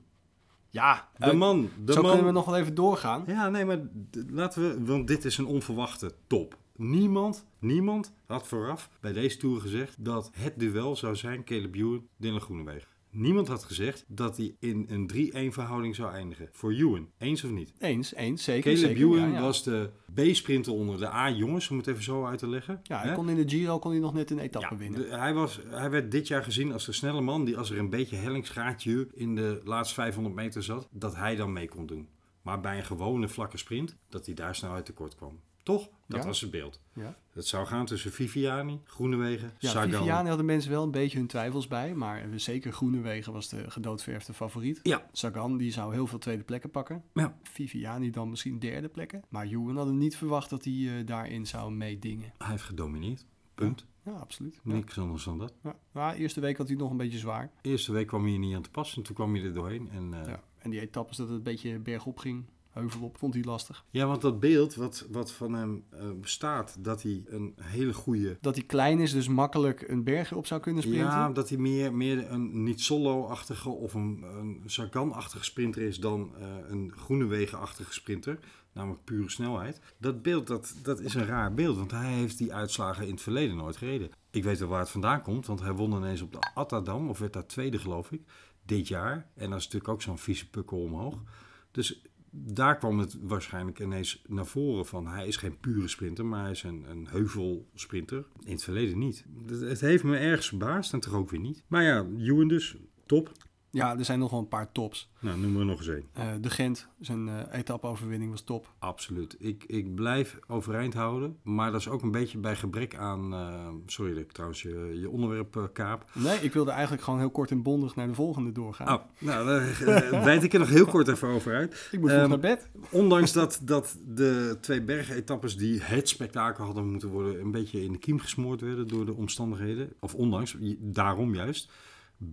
Ja. De man. De Eh, zo man. kunnen we nog wel even doorgaan. Ja, nee, maar d- laten we, want dit is een onverwachte top. Niemand, niemand had vooraf bij deze tour gezegd dat het duel zou zijn Caleb Ewan, Dylan Groenewegen. Niemand had gezegd dat hij in een 3-1 verhouding zou eindigen. Voor Ewan, eens of niet? Eens, eens, zeker. Caleb zeker. Ewan ja, ja. was de B-sprinter onder de A-jongens, om het even zo uit te leggen. Ja, Hè? hij kon in de Giro kon hij nog net een etappe Ja, winnen. de- hij, was, hij werd dit jaar gezien als de snelle man die als er een beetje hellingsgraadje in de laatste 500 meter zat, dat hij dan mee kon doen. Maar bij een gewone vlakke sprint, dat hij daar snel uit tekort kwam. Toch? Dat Ja. was het beeld. Ja, Het zou gaan tussen Viviani, Groenewegen, ja Sagan. Viviani hadden mensen wel een beetje hun twijfels bij. Maar eh, zeker Groenewegen was de gedoodverfde favoriet. Ja, Sagan die zou heel veel tweede plekken pakken. ja, Viviani dan misschien derde plekken. Maar Ewan hadden niet verwacht dat hij eh, daarin zou meedingen. hij heeft gedomineerd. Punt. Ja, absoluut. Ja. Niks anders dan dat. Ja. Maar eerste week had hij nog een beetje zwaar. Eerste week kwam hij er niet aan te pas en toen kwam hij er doorheen. En, eh, Ja. En die etappes dat het een beetje bergop ging, heuvelop, vond hij lastig. ja, want dat beeld wat, wat van hem eh, bestaat, dat hij een hele goede Dat hij klein is, dus makkelijk een berg op zou kunnen sprinten. Ja, dat hij meer, meer een niet solo-achtige of een, een Sagan-achtige sprinter is dan eh, een Groenewegen-achtige sprinter. Namelijk pure snelheid. Dat beeld, dat, dat is een raar beeld, want hij heeft die uitslagen in het verleden nooit gereden. Ik weet wel waar het vandaan komt, want hij won ineens op de Attadam, of werd daar tweede geloof ik, dit jaar. En dat is natuurlijk ook zo'n vieze pukkel omhoog. Dus daar kwam het waarschijnlijk ineens naar voren van hij is geen pure sprinter, maar hij is een, een heuvelsprinter. In het verleden niet. Het, het heeft me ergens verbaasd en toch ook weer niet. Maar ja, Ewan dus, top. Ja, er zijn nog wel een paar tops. Nou, noem er nog eens één. Eh, de Gent, zijn eh etappe-overwinning was top. Absoluut. Ik, ik blijf overeind houden. Maar dat is ook een beetje bij gebrek aan... eh, sorry dat ik trouwens je, je onderwerp eh, kaap. Nee, ik wilde eigenlijk gewoon heel kort en bondig naar de volgende doorgaan. Oh, nou, daar eh, wijd ik er nog heel kort even over uit. ik moet vroeg Ehm, naar bed. Ondanks dat, dat de twee bergetappes die het spektakel hadden moeten worden... een beetje in de kiem gesmoord werden door de omstandigheden. Of ondanks, j- daarom juist.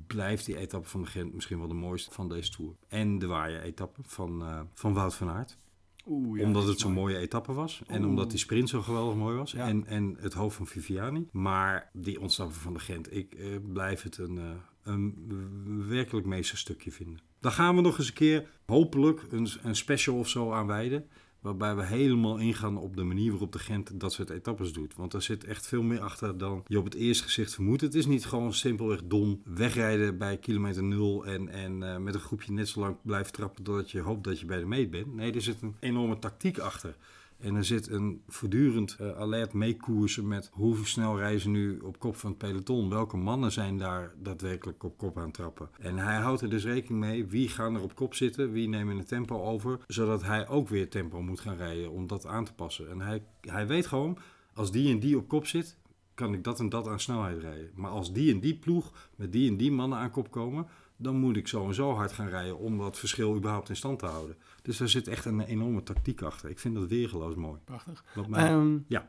Blijft die etappe van de Gent misschien wel de mooiste van deze Tour. En de waaier-etappe van, eh, van Wout van Aert. Oeh, ja, omdat dat het is zo'n mooi. mooie etappe was. En Oeh. omdat die sprint zo geweldig mooi was. Ja. En, en het hoofd van Viviani. Maar die ontsnappen van de Gent. Ik eh, blijf het een, eh, een werkelijk meesterstukje vinden. Daar gaan we nog eens een keer hopelijk een, een special of zo aan wijden. Waarbij we helemaal ingaan op de manier waarop de Gent dat soort etappes doet. Want daar zit echt veel meer achter dan je op het eerste gezicht vermoedt. Het is niet gewoon simpelweg dom wegrijden bij kilometer nul en, en eh, met een groepje net zo lang blijven trappen totdat je hoopt dat je bij de meet bent. Nee, er zit een enorme tactiek achter. En er zit een voortdurend eh, alert meekoersen met hoe snel reizen nu op kop van het peloton. Welke mannen zijn daar daadwerkelijk op kop aan het trappen. En hij houdt er dus rekening mee wie gaan er op kop zitten, wie nemen het tempo over. Zodat hij ook weer tempo moet gaan rijden om dat aan te passen. En hij, hij weet gewoon, als die en die op kop zit, kan ik dat en dat aan snelheid rijden. Maar als die en die ploeg met die en die mannen aan kop komen, dan moet ik zo en zo hard gaan rijden om dat verschil überhaupt in stand te houden. Dus daar zit echt een enorme tactiek achter. Ik vind dat weergeloos mooi. Prachtig. Wat mij- Ehm, ja,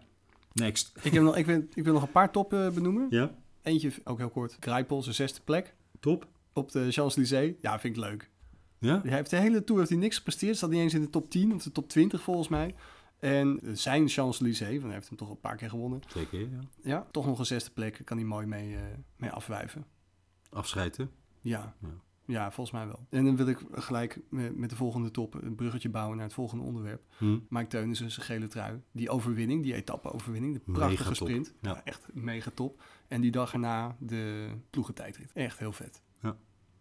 next. ik, heb nog, ik, wil, ik wil nog een paar top eh, benoemen. Ja, Eentje, ook heel kort. Grijpel, zijn zesde plek. top. Op de Champs-Élysées. Ja, vind ik leuk. Ja, Hij heeft de hele Tour heeft hij niks gepresteerd. Zat niet eens in de top 10 of de top 20 volgens mij. En eh, zijn Champs-Élysées, want hij heeft hem toch een paar keer gewonnen. zeker. Ja. Ja, toch nog een zesde plek. Kan hij mooi mee, eh, mee afwijven. Afscheid, hè? Ja. Ja. ja. volgens mij wel. En dan wil ik gelijk met met de volgende top een bruggetje bouwen naar het volgende onderwerp. Hm. Mike Teunissen, zijn gele trui. Die overwinning, die etappe-overwinning, de prachtige Megatop. sprint. Ja. Ja, echt mega top. En die dag erna de ploegentijdrit. Echt heel vet. Ja.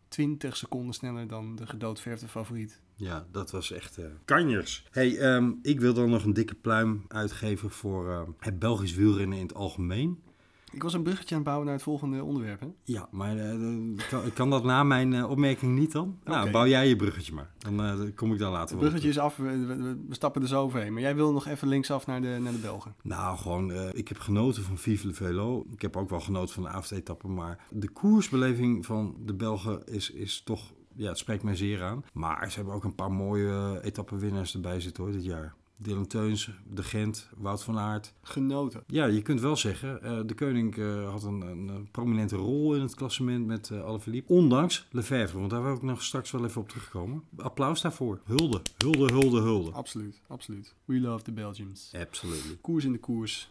20 seconden sneller dan de gedoodverfde favoriet. Ja, dat was echt eh kanjers. hey, ehm, ik wil dan nog een dikke pluim uitgeven voor ehm, het Belgisch wielrennen in het algemeen. Ik was een bruggetje aan het bouwen naar het volgende onderwerp. Hè? Ja, maar eh, eh, kan, kan dat na mijn eh, opmerking niet dan? Nou, Oké. bouw jij je bruggetje maar. Dan eh, kom ik daar later Het wel op bruggetje is af, we, we- we stappen er zo overheen. Maar jij wil nog even linksaf naar de, naar de Belgen. Nou, gewoon, eh, ik heb genoten van Vive le Velo. Ik heb ook wel genoten van de avondetappe. Maar de koersbeleving van de Belgen is, is toch... Ja, het spreekt mij zeer aan. Maar ze hebben ook een paar mooie eh, etappenwinnaars erbij zitten hoor, dit jaar. Dylan Teuns, De Gent, Wout van Aert. Genoten. Ja, je kunt wel zeggen, eh, de koning eh, had een, een eh, prominente rol in het klassement met eh Alaphilippe. Ondanks Lefebvre, want daar wil ik nog straks wel even op terugkomen. Applaus daarvoor. Hulde, hulde, hulde, hulde. Absoluut, absoluut. We love the Belgians. Absoluut. Koers in de koers.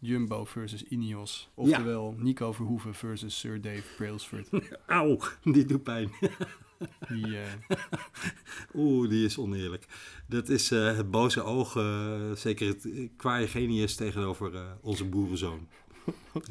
Jumbo versus Ineos. Oftewel Nico Verhoeven versus Sir Dave Brailsford. Auw, dit doet pijn. Die, eh, Oeh, die is oneerlijk. Dat is eh, het boze oog, eh, zeker het eh, kwaaie genius tegenover eh, onze boerenzoon.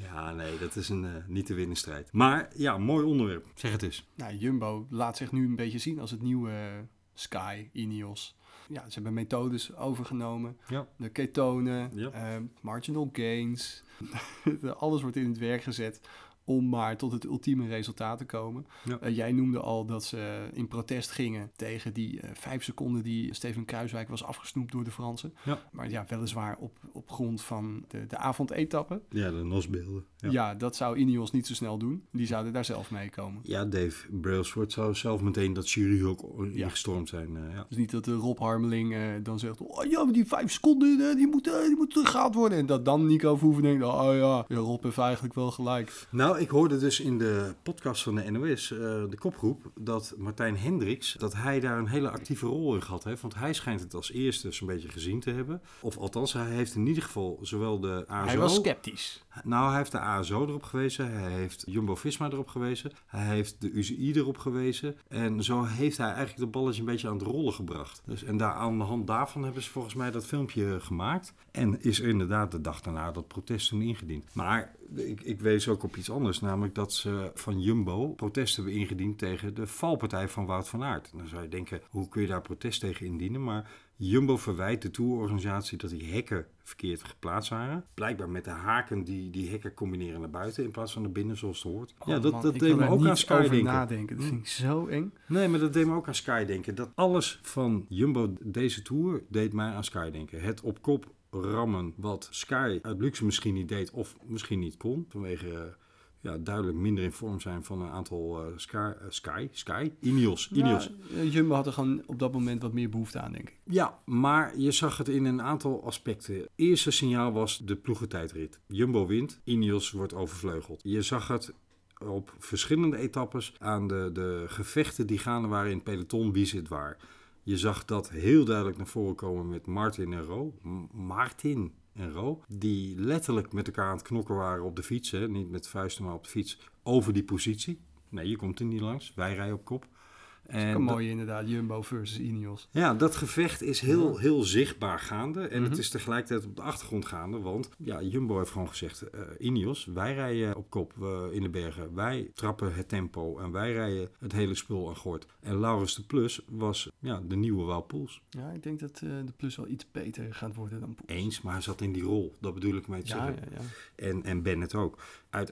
ja, nee, dat is een eh, niet te winnen strijd. Maar ja, mooi onderwerp. Zeg het eens. nou, Jumbo laat zich nu een beetje zien als het nieuwe eh, Sky, Ineos. Ja, ze hebben methodes overgenomen. Ja. De ketonen, Ja. eh, marginal gains. Alles wordt in het werk gezet om maar tot het ultieme resultaat te komen. Ja. Eh, jij noemde al dat ze in protest gingen tegen die eh, vijf seconden die Steven Kruiswijk was afgesnoept door de Fransen. Ja. Maar ja, weliswaar op, op grond van de, de avondetappe. Ja, de nosbeelden. Ja. dat zou Ineos niet zo snel doen. Die zouden daar zelf mee komen. Ja, Dave Brailsford zou zelf meteen dat jury ook ingestormd zijn. eh, ja. Dus niet dat de Rob Harmeling eh, dan zegt... Oh ja, maar die vijf seconden, eh, die moeten die moet teruggehaald worden. En dat dan Nico Verhoeven denkt... Oh ja, ja, Rob heeft eigenlijk wel gelijk. Nou, ik hoorde dus in de podcast van de NOS, eh, de kopgroep, dat Martijn Hendricks, dat hij daar een hele actieve rol in gehad heeft. Want hij schijnt het als eerste zo'n beetje gezien te hebben. Of althans, hij heeft in ieder geval zowel de ASO... Hij was sceptisch. Nou, hij heeft de ASO erop gewezen, hij heeft Jumbo-Visma erop gewezen, hij heeft de UCI erop gewezen. En zo heeft hij eigenlijk de balletje een beetje aan het rollen gebracht. Dus, en daar, aan de hand daarvan hebben ze volgens mij dat filmpje gemaakt. En is er inderdaad de dag daarna dat protest toen ingediend. Maar ik, ik wees ook op iets anders, namelijk dat ze van Jumbo protest hebben ingediend tegen de valpartij van Wout van Aert. En dan zou je denken, hoe kun je daar protest tegen indienen? Maar Jumbo verwijt de tourorganisatie dat die hekken verkeerd geplaatst waren. Blijkbaar met de haken die die hekken combineren naar buiten in plaats van naar binnen zoals het hoort. ja, Oh, dat, man, dat ik deed wil me daar ook niet aan Sky over denken. nadenken. Dat vind ik zo eng. Nee, maar dat deed me ook aan Sky denken. Dat alles van Jumbo deze tour deed mij aan Sky denken. Het op kop rammen wat Sky uit luxe misschien niet deed of misschien niet kon. Vanwege eh, ja, duidelijk minder in vorm zijn van een aantal eh, Sky, eh, Sky, Sky, Ineos, Ineos. Ja, eh, Jumbo had er gewoon op dat moment wat meer behoefte aan, denk ik. Ja, maar je zag het in een aantal aspecten. Eerste signaal was de ploegentijdrit. Jumbo wint, Ineos wordt overvleugeld. Je zag het op verschillende etappes aan de, de gevechten die gaande waren in het peloton, wie zit waar. Je zag dat heel duidelijk naar voren komen met Martin en Ro. M- Martin en Ro, die letterlijk met elkaar aan het knokken waren op de fiets. Hè? Niet met vuisten, maar op de fiets. Over die positie. Nee, je komt er niet langs. Wij rijden op kop. Dat is En een dat- mooie inderdaad, Jumbo versus Ineos. ja, dat gevecht is heel, heel zichtbaar gaande. En Mhm. het is tegelijkertijd op de achtergrond gaande. Want ja, Jumbo heeft gewoon gezegd: eh Ineos, wij rijden op kop eh, in de bergen. Wij trappen het tempo en wij rijden het hele spul aan gort. En Laurens de Plus was ja, de nieuwe Waalpoels. Ja, ik denk dat eh, de plus wel iets beter gaat worden dan Poels. Eens, maar hij zat in die rol. Dat bedoel ik mee te Ja, zeggen. ja, ja. En, en Bennett ook.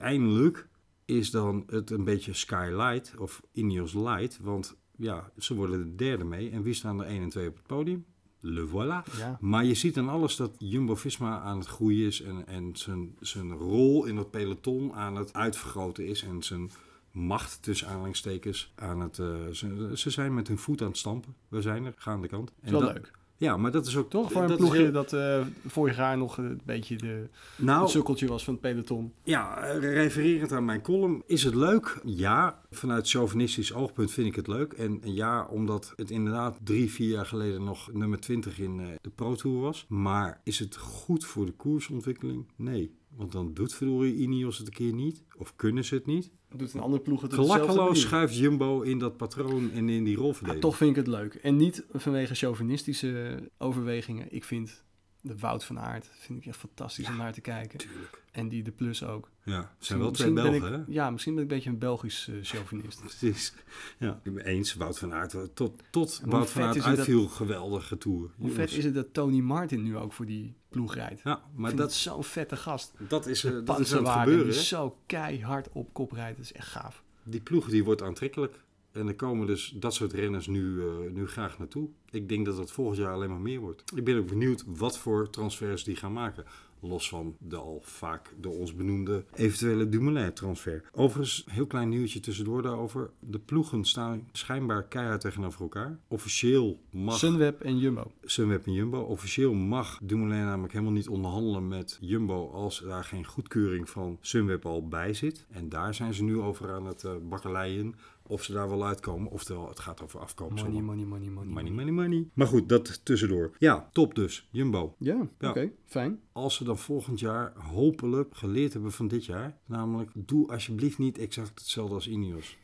Uiteindelijk is dan het een beetje Skylight of Ineos Light. Want ja, ze worden de derde mee. En wie staan er 1 en 2 op het podium? Le voilà. Ja. Maar je ziet aan alles dat Jumbo-Visma aan het groeien is... en, en zijn, zijn rol in dat peloton aan het uitvergroten is... en zijn macht tussen aanhalingstekens aan het... eh, ze, ze zijn met hun voet aan het stampen. We zijn er, gaande kant. En Is wel dat- leuk. Ja, maar dat is ook... Toch? Voor een dat is ploegje heel- dat eh, vorig jaar nog een beetje de, het nou, sukkeltje was van het peloton. Ja, eh, refererend aan mijn column, is het leuk? Ja, vanuit chauvinistisch oogpunt vind ik het leuk. En ja, omdat het inderdaad drie, vier jaar geleden nog nummer 20 in eh, de Pro Tour was. Maar is het goed voor de koersontwikkeling? Nee. Want dan doet verdorie Ineos het een keer niet. Of kunnen ze het niet. Doet een andere ploeg het op dezelfde Gelakkeloos manier. schuift Jumbo in dat patroon en in die Maar rolverdeling. toch vind ik het leuk. En niet vanwege chauvinistische overwegingen. Ik vind de Wout van Aert vind ik echt fantastisch om naar te kijken. Tuurlijk. En die de plus ook. Ja, het zijn wel twee Misschien Belgen, ben hè? ik, Ja, misschien ben ik een beetje een Belgisch eh, chauvinist. Precies. Ja, ik ben eens. Wout van Aert. Tot, tot hoe Wout van vet Aert is het dat- uitviel, geweldige tour. Hoe vet is het dat Tony Martin nu ook voor die ploeg rijdt? Ja, maar Maar dat dat, is zo'n vette gast. Dat is, eh, dat is aan het Panzerwagen gebeuren. die hè? zo keihard op kop rijdt. Dat is echt gaaf. Die ploeg die wordt aantrekkelijk. En er komen dus dat soort renners nu, eh, nu graag naartoe. Ik denk dat dat volgend jaar alleen maar meer wordt. Ik ben ook benieuwd wat voor transfers die gaan maken. Los van de al vaak door ons benoemde eventuele Dumoulin-transfer. Overigens, heel klein nieuwtje tussendoor daarover. De ploegen staan schijnbaar keihard tegenover elkaar. Officieel mag Sunweb en Jumbo. Sunweb en Jumbo. Officieel mag Dumoulin namelijk helemaal niet onderhandelen met Jumbo als daar geen goedkeuring van Sunweb al bij zit. En daar zijn ze nu over aan het eh bakkeleien of ze daar wel uitkomen. Oftewel, het gaat over afkoopsommen. Money, money, money, money. money, money, money. Maar goed, dat tussendoor. Ja, top dus, Jumbo. Ja, Ja. oké. fijn. Als ze dan volgend jaar hopelijk geleerd hebben van dit jaar, namelijk doe alsjeblieft niet exact hetzelfde als Ineos.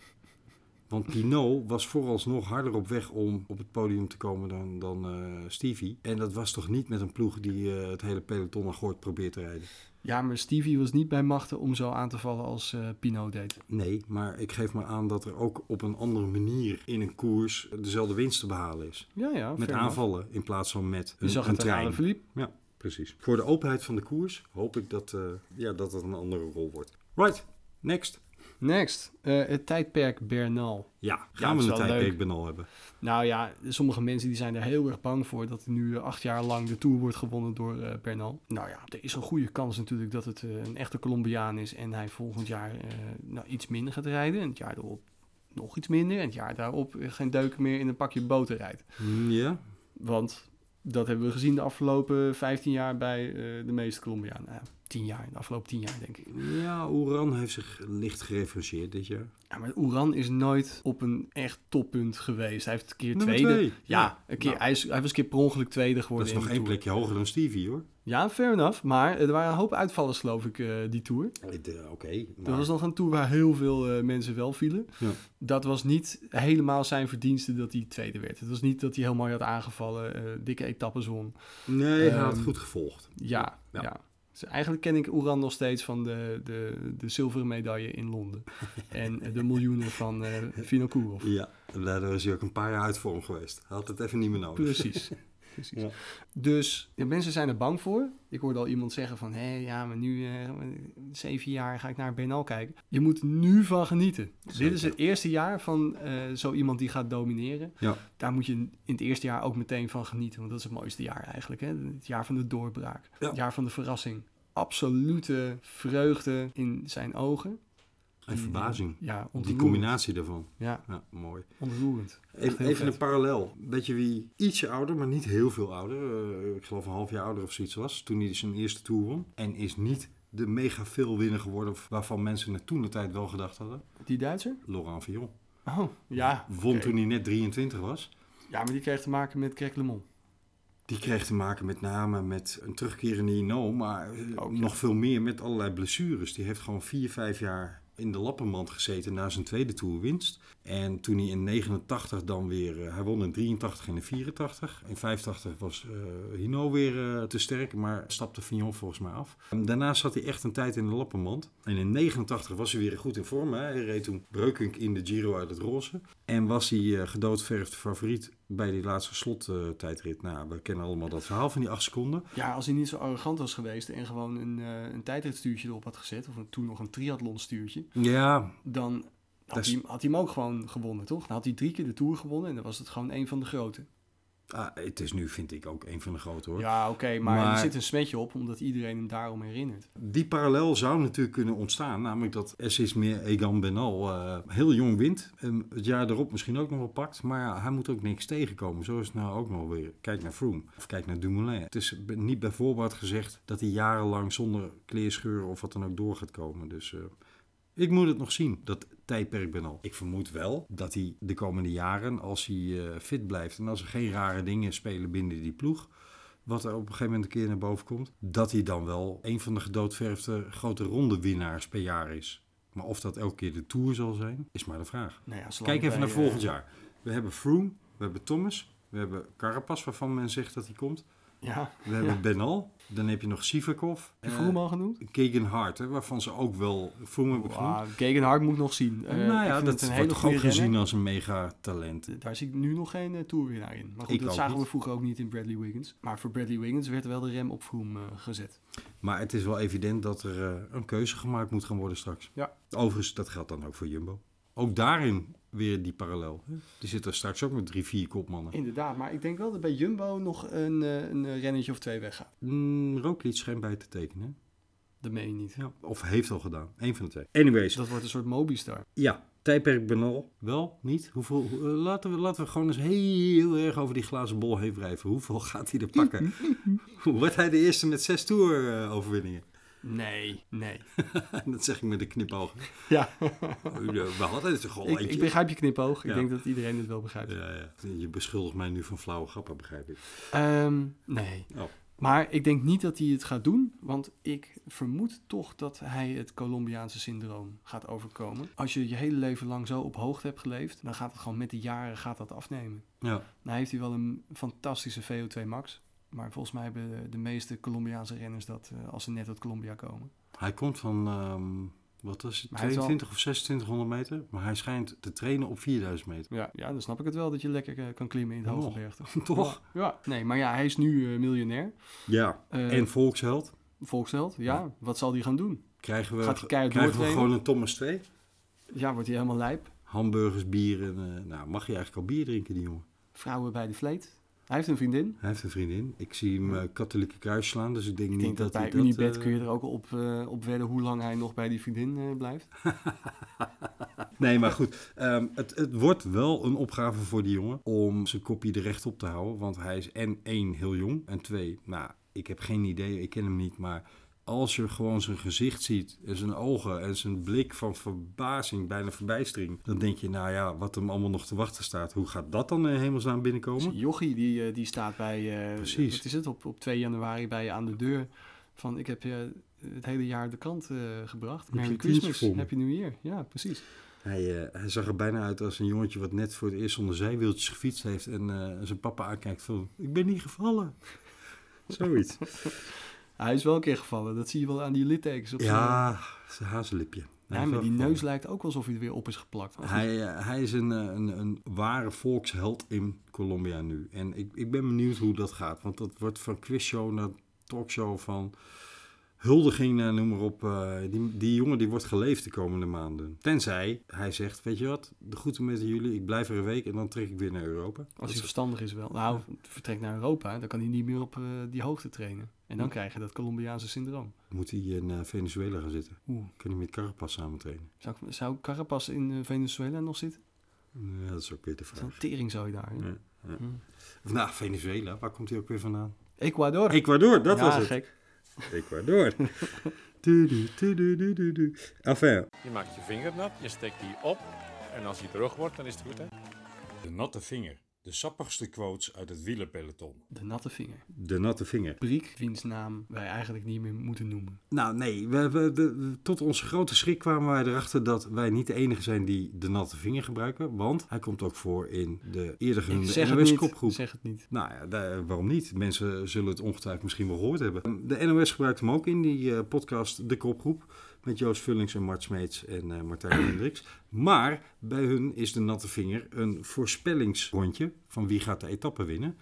Want Pinot was vooralsnog harder op weg om op het podium te komen dan, dan eh, Stevie. En dat was toch niet met een ploeg die eh, het hele peloton aan Goort probeert te rijden. Ja, maar Stevie was niet bij machten om zo aan te vallen als eh Pinot deed. Nee, maar ik geef maar aan dat er ook op een andere manier in een koers dezelfde winst te behalen is. Ja, ja. Oh, fair Met enough. aanvallen in plaats van met Je een, zag een het aan trein. Alaphilippe. Ja, precies. Voor de openheid van de koers hoop ik dat, eh, ja, dat het een andere rol wordt. Right, next. Next, eh, het tijdperk Bernal. Ja, Ja, gaan het we is een wel tijdperk leuk. Benal hebben. Nou ja, sommige mensen die zijn er heel erg bang voor dat nu eh, acht jaar lang de Tour wordt gewonnen door eh, Bernal. Nou ja, er is een goede kans natuurlijk dat het eh, een echte Colombiaan is en hij volgend jaar eh, nou, iets minder gaat rijden. En het jaar daarop nog iets minder. En het jaar daarop eh, geen deuk meer in een pakje boter rijdt. Ja, Want dat hebben we gezien de afgelopen 15 jaar bij eh, de meeste Colombianen. Nou, 10 jaar, de afgelopen 10 jaar denk ik. ja Oeran heeft zich licht gerefuseerd dit jaar. Ja, maar Oeran is nooit op een echt toppunt geweest. Hij heeft een keer Nummer tweede. twee. Ja, Ja, een keer, nou. hij, is, hij was een keer per ongeluk tweede Dat geworden. is nog in één de Tour. plekje hoger dan Stevie hoor. Ja, fair enough. Maar er waren een hoop uitvallers, geloof ik, eh, die tour. Eh, de- Oké, Dat maar- was nog een tour waar heel veel eh, mensen wel vielen. Ja. Dat was niet helemaal zijn verdienste dat hij tweede werd. Het was niet dat hij heel mooi had aangevallen, eh, dikke etappes won. nee, hij had Ehm, goed gevolgd. Ja, Ja. ja. Dus eigenlijk ken ik Oeran nog steeds van de, de, de zilveren medaille in Londen. en eh, de miljoenen van eh Vinokourov. Ja, en daardoor is hij ook een paar jaar uit vorm geweest. Hij had het even niet meer nodig. Precies. precies. Ja. Dus ja, mensen zijn er bang voor. Ik hoorde al iemand zeggen van, hé, ja, maar nu eh, zeven jaar ga ik naar Bernal kijken. Je moet nu van genieten. Dit is Zeker. het eerste jaar van eh, zo iemand die gaat domineren. Ja. Daar moet je in het eerste jaar ook meteen van genieten, want dat is het mooiste jaar eigenlijk. Hè? Het jaar van de doorbraak, Ja. het jaar van de verrassing. Absolute vreugde in zijn ogen. En verbazing. Ja, Die ontroerend. combinatie daarvan. Ja, Ja, mooi. ontroerend. Echt Even, heel even vet. een parallel. Weet je wie ietsje ouder, maar niet heel veel ouder, eh, ik geloof een half jaar ouder of zoiets was, toen hij dus zijn eerste Tour won. En is niet de mega veel winnaar geworden waarvan mensen het toen de tijd wel gedacht hadden. Die Duitser? Laurent Fillon. Oh, ja. Won oké. toen hij net 23 was. Ja, maar die kreeg te maken met Greg LeMond. Die kreeg te maken met name met een terugkerende INO, maar eh, Ook, ja. nog veel meer met allerlei blessures. Die heeft gewoon vier, vijf jaar in de lappenmand gezeten na zijn tweede toerwinst. En toen hij in 89 dan weer, eh, hij won in 83 en in 84. In 85 was eh Hino weer eh, te sterk, maar stapte Fignon volgens mij af. En daarna zat hij echt een tijd in de lappenmand. En in 89 was hij weer goed in vorm. Hè. Hij reed toen Breukink in de Giro uit het roze. En was hij eh, gedoodverfd favoriet bij die laatste slottijdrit. nou, we kennen allemaal dat verhaal van die acht seconden. Ja, als hij niet zo arrogant was geweest en gewoon een, eh een tijdritstuurtje erop had gezet, of een- toen nog een triathlonstuurtje, Ja, dan had, Dat is- hij, had hij hem ook gewoon gewonnen, toch? Dan had hij drie keer de Tour gewonnen en dan was het gewoon een van de grote. ah, het is nu vind ik ook een van de grote hoor. Ja, oké, maar, Maar- er zit een smetje op, omdat iedereen hem daarom herinnert. Die parallel zou natuurlijk kunnen ontstaan. Namelijk dat SS meer Egan Benal eh, heel jong wint. En het jaar erop misschien ook nog wel pakt. Maar ja, hij moet ook niks tegenkomen. Zo is het nou ook nog weer. Kijk naar Froome of kijk naar Dumoulin. Het is b- niet bij voorbaat gezegd dat hij jarenlang zonder kleerscheuren of wat dan ook door gaat komen. Dus eh, ik moet het nog zien, dat tijdperk Benal. Ik vermoed wel dat hij de komende jaren, als hij eh, fit blijft... en als er geen rare dingen spelen binnen die ploeg wat er op een gegeven moment een keer naar boven komt, dat hij dan wel een van de gedoodverfde grote ronde winnaars per jaar is. Maar of dat elke keer de Tour zal zijn, is maar de vraag. Nou ja, zolang Kijk even wij, naar volgend eh, jaar. We hebben Froome, we hebben Thomas, we hebben Carapaz, waarvan men zegt dat hij komt. eh, Ja, We hebben Benal, dan heb je nog Sivakov. heb je eh, Froome al genoemd? Keegan Hart, hè, waarvan ze ook wel Froome hebben genoemd. Ah, Gegenhard moet ik nog zien. Eh, nou ik ja, vind dat het een wordt hele toch ook goede gezien gezien. als een mega talent. Daar zie ik nu nog geen tour tourwinnaar in. Maar goed, Ik dat ook zagen niet. we vroeger ook niet in Bradley Wiggins. Maar voor Bradley Wiggins werd wel de rem op Froome eh, gezet. Maar het is wel evident dat er eh, een keuze gemaakt moet gaan worden straks. Ja. Overigens, dat geldt dan ook voor Jumbo. Ook daarin weer die parallel. hè. Die zitten straks ook met drie, vier kopmannen. Inderdaad, maar ik denk wel dat bij Jumbo nog een, eh, een eh, rennetje of twee weggaat. Mm, Roglic schijnt bij te tekenen. Dat meen je niet. Ja. Of heeft al gedaan. Eén van de twee. Anyways, Dus dat wordt een soort Mobistar. ja. Tijdperk Benal. Wel, niet. Hoeveel, eh, laten, we, laten we gewoon eens heel erg over die glazen bol heen wrijven. Hoeveel gaat hij er pakken? Wordt hij de eerste met zes Tour-overwinningen? Nee, nee. dat zeg ik met een knipoog. Ja, We hadden het toch al ik, eentje? ik begrijp je knipoog. Ja. Ik denk dat iedereen het wel begrijpt. Ja, ja. Je beschuldigt mij nu van flauwe grappen, begrijp ik. Ehm, nee. Oh. Maar ik denk niet dat hij het gaat doen, want ik vermoed toch dat hij het Colombiaanse syndroom gaat overkomen. Als je je hele leven lang zo op hoogte hebt geleefd, dan gaat het gewoon met de jaren gaat dat afnemen. Ja. Nou heeft hij wel een fantastische VO2 max, maar volgens mij hebben de meeste Colombiaanse renners dat eh, als ze net uit Colombia komen. Hij komt van, ehm, wat was het, Maar hij is wel- 22 of 2600 meter. Maar hij schijnt te trainen op 4000 meter. Ja, ja, dan snap ik het wel dat je lekker eh, kan klimmen in het Nog. hoge bergte. Toch? Ja, nee, maar ja, hij is nu eh, miljonair. Ja. Eh, en volksheld. volksheld, ja. Wat zal hij gaan doen? Krijgen we, gaat hij keihard krijgen we doortrainen? gewoon een Thomas 2? Ja, wordt hij helemaal lijp. Hamburgers, bier en... eh, nou, mag je eigenlijk al bier drinken, die jongen? Vrouwen bij de vleet. Hij heeft een vriendin. Hij heeft een vriendin. Ik zie hem eh, katholieke kruis slaan, dus ik denk Ik niet denk dat, dat, hij bij dat... Unibed eh, kun je er ook op, eh op wedden hoe lang hij nog bij die vriendin eh, blijft. Nee, maar goed. ehm, het, het wordt wel een opgave voor die jongen om zijn kopje er recht op te houden. Want hij is en één heel jong en twee, nou, ik heb geen idee, ik ken hem niet. Maar als je gewoon zijn gezicht ziet en zijn ogen en zijn blik van verbazing, bijna verbijstering. Dan denk je, nou ja, wat hem allemaal nog te wachten staat. Hoe gaat dat dan in hemelsnaam binnenkomen? Jochie, die, eh, die staat bij, eh Precies. wat is het, op, op 2 januari bij je aan de deur. Van, ik heb je het hele jaar de krant eh, gebracht. je Merry een tientje Christmas, voor me? Happy New Year. Ja, precies. Hij, eh, hij zag er bijna uit als een jongetje wat net voor het eerst zonder zijwieltjes gefietst heeft. En eh, zijn papa aankijkt van, ik ben niet gevallen. Zoiets. Hij is wel een keer gevallen. Dat zie je wel aan die littekens op zijn- Ja, zijn hazenlipje. Ja, maar die neus lijkt ook alsof hij er weer op is geplakt. Maar goed, Hij, eh, hij is een, eh, een, een ware volksheld in Colombia nu. En ik, ik ben benieuwd hoe dat gaat. Want dat wordt van quizshow naar talkshow, van huldiging naar noem maar op. eh, die, die jongen die wordt geleefd de komende maanden. Tenzij hij zegt, weet je wat, de groeten met jullie. Ik blijf er een week en dan trek ik weer naar Europa. Dat Als hij is- verstandig is wel. Nou, vertrekt naar Europa, dan kan hij niet meer op eh, die hoogte trainen. En dan krijg je dat Colombiaanse syndroom. moet hij in eh, Venezuela gaan zitten. Oeh. Kan hij met Carapaz samen trainen? Zou, ik- zou Carapaz in eh, Venezuela nog zitten? Ja, dat is ook weer de Wat een vraag. tering zou je daar. hè? Ja. Of nou, Venezuela, waar komt hij ook weer vandaan? Ecuador. Ecuador, dat Ja, was het. gek. Ecuador. Tudu, tudu, tudu, tudu. Enfin, Je maakt je vinger nat, je steekt die op. En als die droog wordt, dan is het goed, hè? de natte vinger. De sappigste quotes uit het wielerpeloton. De natte vinger. De natte vinger. Briek, wiens naam wij eigenlijk niet meer moeten noemen. Nou nee, we, we- we- tot onze grote schrik kwamen wij erachter dat wij niet de enige zijn die de natte vinger gebruiken. Want hij komt ook voor in de eerder Ik genoemde zeg het niet. NOS-kopgroep. Zeg het niet. Nou ja, daar- waarom niet? Mensen zullen het ongetwijfeld misschien wel gehoord hebben. De NOS gebruikt hem ook in die eh, podcast De Kopgroep. Met Joost Vullings en Mart Smeets en eh, Martijn Hendricks. Maar bij hun is de natte vinger een voorspellingsrondje van wie gaat de etappe winnen.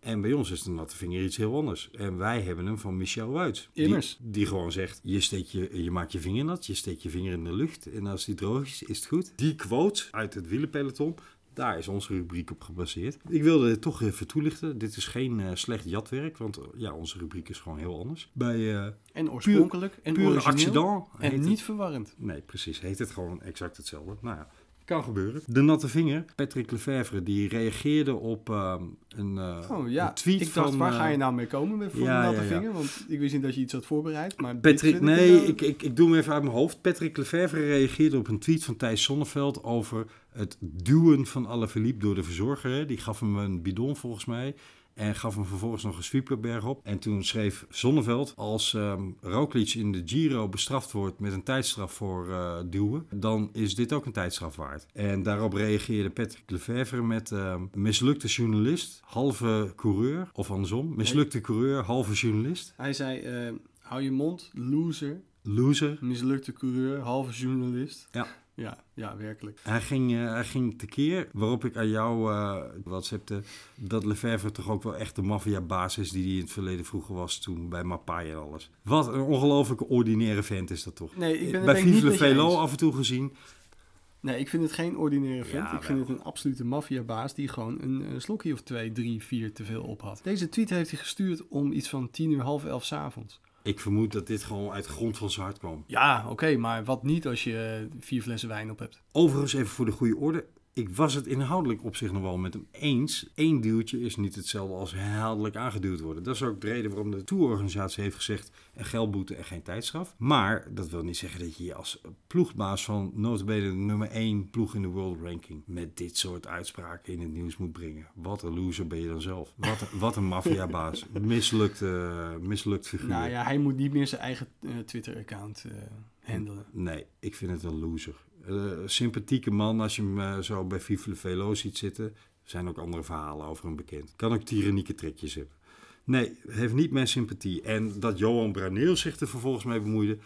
En bij ons is de natte vinger iets heel anders. En wij hebben hem van Michel Wuits. Immers. Die, die gewoon zegt, je, steekt je, je maakt je vinger nat, je steekt je vinger in de lucht. En als die droog is, is het goed. Die quote uit het wielenpeloton, daar is onze rubriek op gebaseerd. Ik wilde het toch even toelichten. Dit is geen eh, slecht jatwerk, want eh, ja, onze rubriek is gewoon heel anders. Bij eh En oorspronkelijk en pure origineel. accident. heet En het. niet verwarrend. Nee, precies. Heet het gewoon exact hetzelfde. Nou ja, kan gebeuren. De natte vinger, Patrick Lefevre, die reageerde op ehm, een, eh, Oh een ja, tweet ik dacht, van... waar eh, ga je nou mee komen met voor ja, de ja, natte ja. vinger? Want ik wist niet dat je iets had voorbereid. Maar dit Patrick, vind ik nee, wel- ik, ik, ik doe hem even uit mijn hoofd. Patrick Lefevre reageerde op een tweet van Thijs Sonneveld over het duwen van Alaphilippe door de verzorger. hè. Die gaf hem een bidon volgens mij en gaf hem vervolgens nog een sweeperberg op. En toen schreef Sonneveld, als ehm Roglic in de Giro bestraft wordt met een tijdstraf voor eh, duwen, dan is dit ook een tijdstraf waard. En daarop reageerde Patrick Lefevre met ehm, mislukte journalist, halve coureur, of andersom, mislukte coureur, halve journalist, Hij zei, eh, hou je mond, loser, loser. mislukte coureur, halve journalist. Ja. Ja, ja, werkelijk. Hij ging, eh, hij ging tekeer, waarop ik aan jou eh whatsappte dat Lefevre toch ook wel echt de maffiabaas is die hij in het verleden vroeger was toen bij Mapai en alles. Wat een ongelofelijke ordinaire vent is dat toch? Nee, ik ben het bij denk ik niet Vive met je Velo eens. af en toe gezien. Nee, ik vind het geen ordinaire vent. Ja, ik vind wel. het een absolute maffiabaas die gewoon een, eh, slokje of twee, drie, vier te veel op had. Deze tweet heeft hij gestuurd om iets van tien uur, half elf s'avonds. Ik vermoed dat dit gewoon uit de grond van zijn hart kwam. Ja, oké, maar wat niet als je eh, vier flessen wijn op hebt? Overigens, even voor de goede orde. Ik was het inhoudelijk op zich nog wel met hem eens. Eén duwtje is niet hetzelfde als herhaaldelijk aangeduwd worden. Dat is ook de reden waarom de tourorganisatie heeft gezegd... een geldboete en geen tijdstraf. Maar dat wil niet zeggen dat je je als ploegbaas van notabene de nummer 1 ploeg in de world ranking... met dit soort uitspraken in het nieuws moet brengen. Wat een loser ben je dan zelf. Wat een, wat een maffiabaas. Mislukt, eh, mislukt figuur. Nou ja, hij moet niet meer zijn eigen eh, Twitter-account eh, handelen. Nee, ik vind het een loser. Eh, sympathieke man als je hem eh, zo bij Vive Velo ziet zitten. Er zijn ook andere verhalen over hem bekend. Kan ook tyrannieke trekjes hebben. Nee, heeft niet mijn sympathie. En dat Johan Braneel zich er vervolgens mee bemoeide,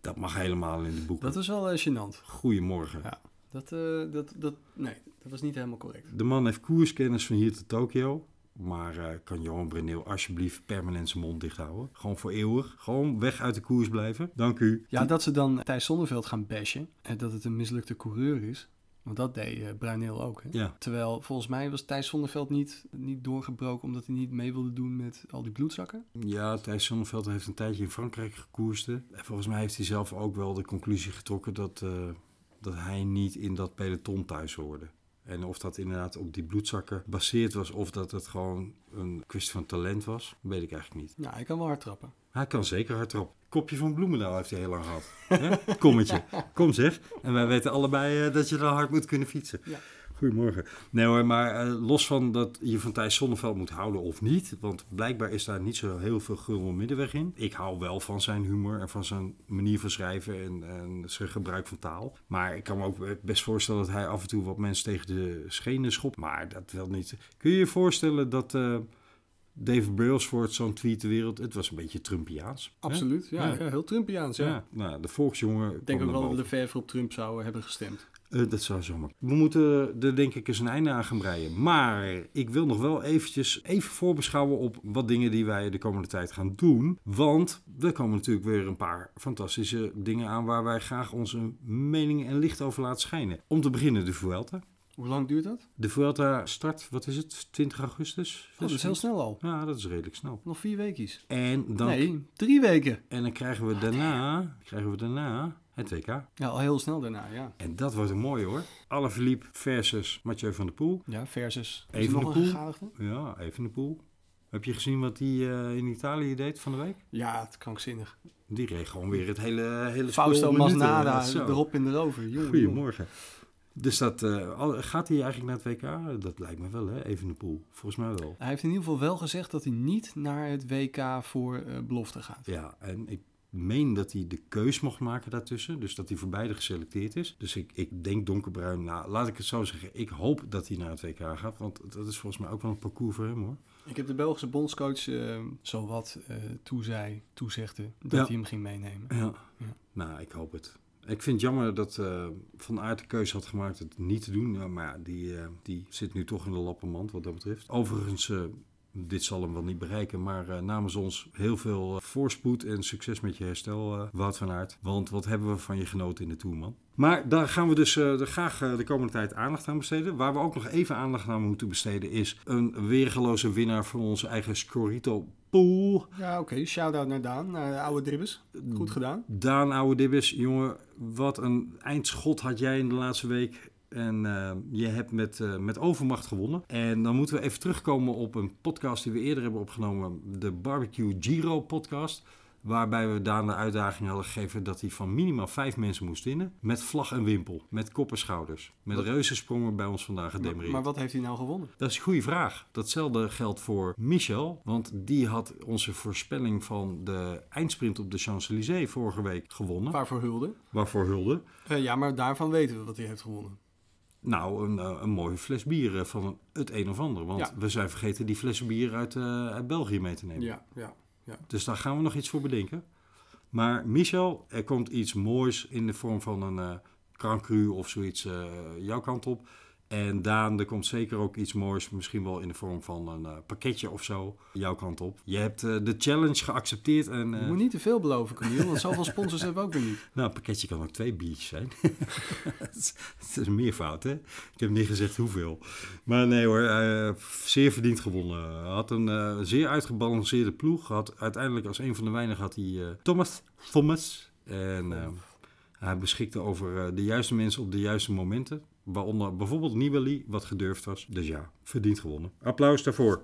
dat mag helemaal in de boeken. Dat was wel eh, gênant. Goedemorgen. Ja. Dat, eh, dat, dat, nee, dat was niet helemaal correct. De man heeft koerskennis van hier tot Tokio. Maar eh, kan Johan Braneel alsjeblieft permanent zijn mond dicht houden? Gewoon voor eeuwig. Gewoon weg uit de koers blijven. Dank u. Ja, dat ze dan Thijs Zonneveld gaan bashen. En dat het een mislukte coureur is. Want dat deed eh Bruineel ook. Hè? Ja. Terwijl volgens mij was Thijs Zonneveld niet, niet doorgebroken omdat hij niet mee wilde doen met al die bloedzakken. Ja, Thijs Zonneveld heeft een tijdje in Frankrijk gekoerst. En volgens mij heeft hij zelf ook wel de conclusie getrokken dat, eh, dat hij niet in dat peloton thuis hoorde. En of dat inderdaad op die bloedzakken gebaseerd was of dat het gewoon een kwestie van talent was, weet ik eigenlijk niet. Nou, hij kan wel hard trappen. Hij kan zeker hard erop. Kopje van Bloemendaal heeft hij heel lang gehad. Hè? Kommetje. Kom zeg. En wij weten allebei eh, dat je dan hard moet kunnen fietsen. Ja. Goedemorgen. Nee hoor, maar eh, los van dat je van Thijs Zonneveld moet houden of niet. Want blijkbaar is daar niet zo heel veel gul middenweg in. Ik hou wel van zijn humor en van zijn manier van schrijven en, en zijn gebruik van taal. Maar ik kan me ook best voorstellen dat hij af en toe wat mensen tegen de schenen schopt. Maar dat wil niet. Kun je je voorstellen dat... eh, Dave Brailsford zo'n tweet de wereld. Het was een beetje Trumpiaans. hè? Absoluut, ja, Ja. ja, heel Trumpiaans. Ja. Ja. Nou, de volksjongen. Ik denk kwam ook wel naar dat boven. de verver op Trump zou hebben gestemd. Eh, dat zou zomaar. We moeten er denk ik eens een einde aan gaan breien. Maar ik wil nog wel eventjes even voorbeschouwen op wat dingen die wij de komende tijd gaan doen. Want er komen natuurlijk weer een paar fantastische dingen aan waar wij graag onze mening en licht over laten schijnen. Om te beginnen de Vuelta. Hoe lang duurt dat? De Vuelta start, wat is het, 20 augustus? Oh, dat is heel snel al. Ja, dat is redelijk snel. Nog vier weekjes. En dan, Nee, drie weken. en dan krijgen, we daarna, krijgen we daarna het WK. Ja, al heel snel daarna, ja. En dat wordt een mooi hoor. Alaphilippe versus Mathieu van der Poel. Ja, versus. Is er Even de nog poel. een gegadigde? Ja, even de poel. Heb je gezien wat hij eh, in Italië deed van de week? Ja, het krankzinnig. Die reed gewoon weer het hele, hele spul Fausto minuten. Masnada, Zo. erop en erover. Jongen, jongen. Goedemorgen. Dus dat, eh, al- gaat hij eigenlijk naar het WK? Dat lijkt me wel, hè? Even de poel. Volgens mij wel. Hij heeft in ieder geval wel gezegd dat hij niet naar het WK voor eh, belofte gaat. Ja, en ik meen dat hij de keus mocht maken daartussen. Dus dat hij voor beide geselecteerd is. Dus ik, ik denk donkerbruin. Nou, laat ik het zo zeggen. Ik hoop dat hij naar het WK gaat. Want dat is volgens mij ook wel een parcours voor hem, hoor. Ik heb de Belgische bondscoach eh, zowat eh toezei, toezegde dat Ja. hij hem ging meenemen. Ja. Nou, ik hoop het. Ik vind het jammer dat eh, Van Aert de keuze had gemaakt het niet te doen. Nou, maar ja, die, eh, die zit nu toch in de lappenmand wat dat betreft. Overigens, eh, dit zal hem wel niet bereiken. Maar eh, namens ons heel veel eh, voorspoed en succes met je herstel, eh, Wout van Aert. Want wat hebben we van je genoten in de Tour, man. Maar daar gaan we dus eh, er graag eh, de komende tijd aandacht aan besteden. Waar we ook nog even aandacht aan moeten besteden is een weergeloze winnaar van onze eigen Scorito Pool. Ja, oké. Shout-out naar Daan, naar de oude dribbes. Mm. Goed gedaan. Daan Ouwedibbes, jongen, wat een eindschot had jij in de laatste week. En eh, je hebt met, eh, met overmacht gewonnen. En dan moeten we even terugkomen op een podcast die we eerder hebben opgenomen. De Barbecue Giro podcast. Waarbij we Daan de uitdaging hadden gegeven dat hij van minimaal vijf mensen moest winnen. Met vlag en wimpel. Met kop en schouders. Met reuzensprongen bij ons vandaag Maar, gedemereerd. maar wat heeft hij nou gewonnen? Dat is een goede vraag. Datzelfde geldt voor Michel, want die had onze voorspelling van de eindsprint op de Champs-Élysées vorige week gewonnen. Waarvoor hulde? Waarvoor hulde? Eh, ja, maar daarvan weten we wat hij heeft gewonnen. Nou, een, eh, een mooie fles bier eh, van het een of ander. Want Ja. we zijn vergeten die flessen bier uit, eh, uit België mee te nemen. Ja, ja. Dus daar gaan we nog iets voor bedenken. Maar Michel, er komt iets moois in de vorm van een eh krankru of zoiets eh, jouw kant op. En Daan, er komt zeker ook iets moois, misschien wel in de vorm van een eh, pakketje of zo, jouw kant op. Je hebt eh, de challenge geaccepteerd en... Je eh, moet niet te veel beloven, Camille, want zoveel sponsors hebben we ook weer niet. nou, een pakketje kan ook twee biertjes zijn. Het is- Het is een meervoud, hè? Ik heb niet gezegd hoeveel. Maar nee hoor, eh, zeer verdiend gewonnen. Had een eh, zeer uitgebalanceerde ploeg. Had uiteindelijk als een van de weinigen had hij eh, Thomas. Thomas. En eh, hij beschikte over eh, de juiste mensen op de juiste momenten. Waaronder bijvoorbeeld Nibali, wat gedurfd was. Dus ja, verdiend gewonnen. Applaus daarvoor.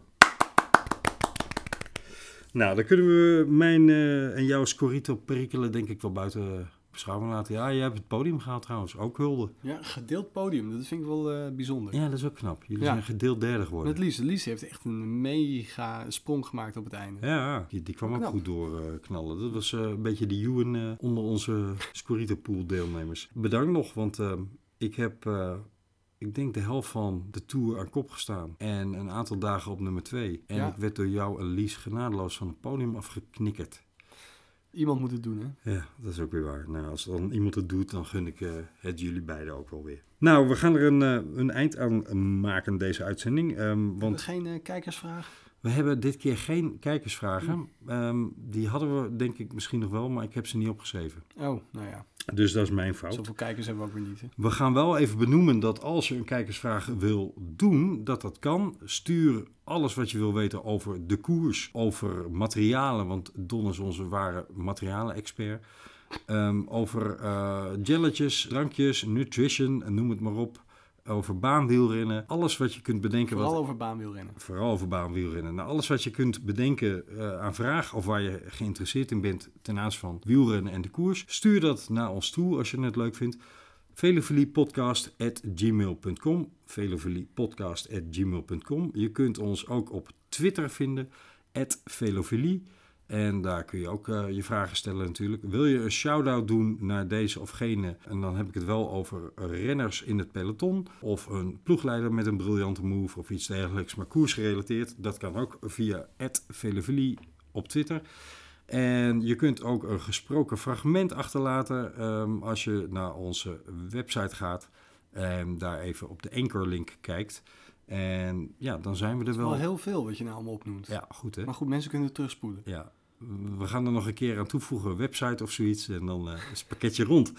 Nou, dan kunnen we mijn eh, en jouw scorito perikelen denk ik wel buiten beschouwing laten. Ja, jij hebt het podium gehaald trouwens. Ook hulde. Ja, gedeeld podium, dat vind ik wel eh, bijzonder. Ja, dat is ook knap. Jullie Ja. zijn gedeeld derde geworden. Met Lies. Lies heeft echt een mega sprong gemaakt op het einde. Ja, die, die kwam ook Knap. goed door eh, knallen. Dat was eh, een beetje de Ewan eh, onder onze Scorito Pool deelnemers. Bedankt nog, want eh, ik heb, eh, ik denk de helft van de Tour aan kop gestaan. En een aantal dagen op nummer twee. En Ja. ik werd door jou en Lies genadeloos van het podium afgeknikkerd. Iemand moet het doen, hè? Ja, dat is ook weer waar. Nou, als dan iemand het doet, dan gun ik eh, het jullie beiden ook wel weer. Nou, we gaan er een, eh, een eind aan maken, deze uitzending. Ehm, want Geen eh, kijkersvraag? We hebben dit keer geen kijkersvragen. Ehm, die hadden we denk ik misschien nog wel, maar ik heb ze niet opgeschreven. Oh, nou ja. Dus dat is mijn fout. Zoveel kijkers hebben we ook weer niet, hè? We gaan wel even benoemen dat als je een kijkersvraag wil doen, dat dat kan. Stuur alles wat je wil weten over de koers, over materialen, want Don is onze ware materialen-expert. Ehm, over eh jelletjes, drankjes, nutrition, noem het maar op. Over baanwielrennen. Alles wat je kunt bedenken. wat Vooral over baanwielrennen. Vooral over baanwielrennen. Nou, alles wat je kunt bedenken eh, aan vraag of waar je geïnteresseerd in bent ten aanzien van wielrennen en de koers, stuur dat naar ons toe als je het leuk vindt. Veleveliepodcast.gmail.com Veleveliepodcast.gmailcom Je kunt ons ook op Twitter vinden, at Velovelie. En daar kun je ook eh, je vragen stellen natuurlijk. Wil je een shout-out doen naar deze of gene? En dan heb ik het wel over renners in het peloton. Of een ploegleider met een briljante move of iets dergelijks. Maar koersgerelateerd, dat kan ook via @velevely op Twitter. En je kunt ook een gesproken fragment achterlaten ehm, als je naar onze website gaat. En daar even op de Anchor-link kijkt. En ja, dan zijn we er wel. Wel heel veel wat je nou allemaal opnoemt. Ja, goed hè? Maar goed, mensen kunnen het terugspoelen. Ja, we gaan er nog een keer aan toevoegen, een website of zoiets, en dan eh, is het pakketje rond.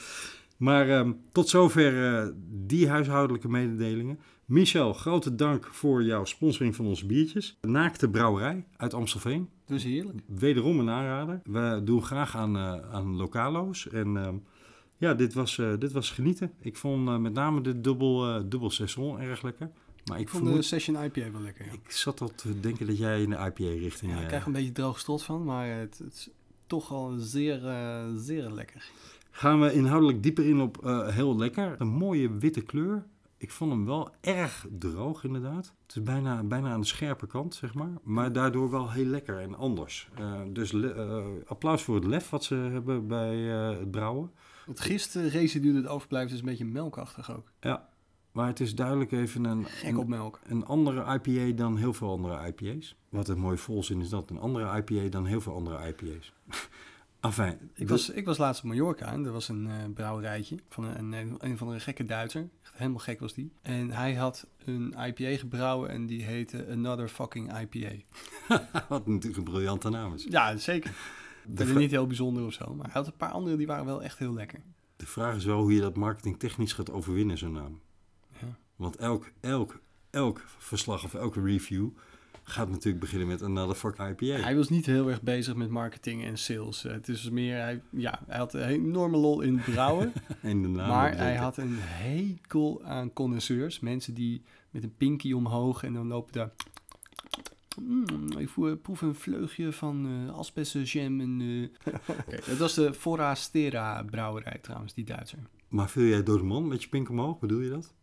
Maar ehm, tot zover eh, die huishoudelijke mededelingen. Michel, grote dank voor jouw sponsoring van onze biertjes. Naakte Brouwerij uit Amstelveen. Dus heerlijk. Wederom een aanrader. We doen graag aan, eh, aan localo's. En ehm, ja, dit was, eh, dit was genieten. Ik vond eh, met name de dubbel, eh, dubbel saison erg lekker. Maar ik, Ik vond vermoed- de Session IPA wel lekker. Ja. ik zat al te denken dat jij in de IPA-richting... Ja, ik krijg een beetje droog strot van, maar het, het is toch al zeer, eh, zeer lekker. Gaan we inhoudelijk dieper in op eh, heel lekker. Een mooie witte kleur. Ik vond hem wel erg droog, inderdaad. Het is bijna, bijna aan de scherpe kant, zeg maar. Maar daardoor wel heel lekker en anders. Eh, dus le- eh, applaus voor het lef wat ze hebben bij eh, het brouwen. Het gisteren dat overblijft is dus een beetje melkachtig ook. Ja, maar het is duidelijk even een, Gek op een, melk. een andere IPA dan heel veel andere IPA's. Wat een mooie volzin is dat. Een andere IPA dan heel veel andere IPA's. Afijn. Ik was, ik was laatst op Mallorca en er was een eh, brouwerijtje van een, een, een van de gekke Duitser. Echt helemaal gek was die. En hij had een IPA gebrouwen en die heette Another Fucking IPA. Wat natuurlijk een briljante naam is. Ja, zeker. Dat is vra- niet heel bijzonder of zo, maar hij had een paar andere die waren wel echt heel lekker. De vraag is wel hoe je dat marketingtechnisch gaat overwinnen, zo'n naam. Ja. Want elk, elk, elk verslag of elke review gaat natuurlijk beginnen met another fuck IPA. Hij was niet heel erg bezig met marketing en sales. Eh, Het is meer, hij, ja, hij had een enorme lol in het brouwen. En de naam maar bedenken. hij had een hekel aan condenseurs. Mensen die met een pinkie omhoog en dan lopen daar... Mm, ik voel- eh, proef een vleugje van eh asbestjam en... eh. Oké, dat was de Forastera brouwerij trouwens, die Duitser. Maar viel jij door de man met je pink omhoog, bedoel je dat?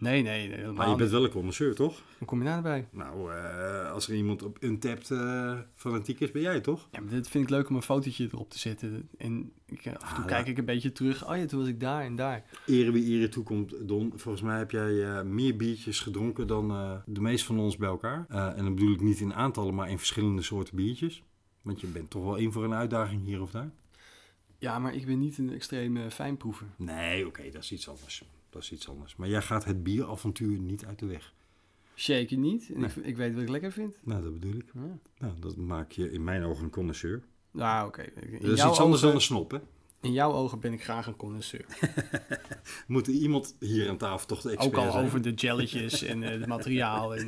Nee, nee, nee Maar je helemaal bent niet. wel een connoisseur, toch? Hoe kom je daarbij? Nou, eh, als er iemand op Untapped eh fanatiek is, ben jij toch? Ja, maar dit vind ik leuk om een fotootje erop te zetten. En ik, eh, af en toe Ah, kijk ja. ik een beetje terug. Oh ja, toen was ik daar en daar. Ere wie ere toekomt, Don. Volgens mij heb jij eh, meer biertjes gedronken dan eh, de meeste van ons bij elkaar. Eh, en dan bedoel ik niet in aantallen, maar in verschillende soorten biertjes. Want je bent toch wel in voor een uitdaging hier of daar. Ja, maar ik ben niet een extreme fijnproever. Nee, oké, dat is iets anders. Dat is iets anders. Maar jij gaat het bieravontuur niet uit de weg. Shake je niet. En Nee. ik, ik weet wat ik lekker vind. Nou, dat bedoel ik. Ja. Nou, dat maak je in mijn ogen een connoisseur. Nou, oké. Dat In, is iets jouw anders dan ogen- een snop, hè? in jouw ogen ben ik graag een connoisseur. Moet er iemand hier aan tafel toch de expert Ook al zijn? over de jelletjes en eh, het materiaal. En,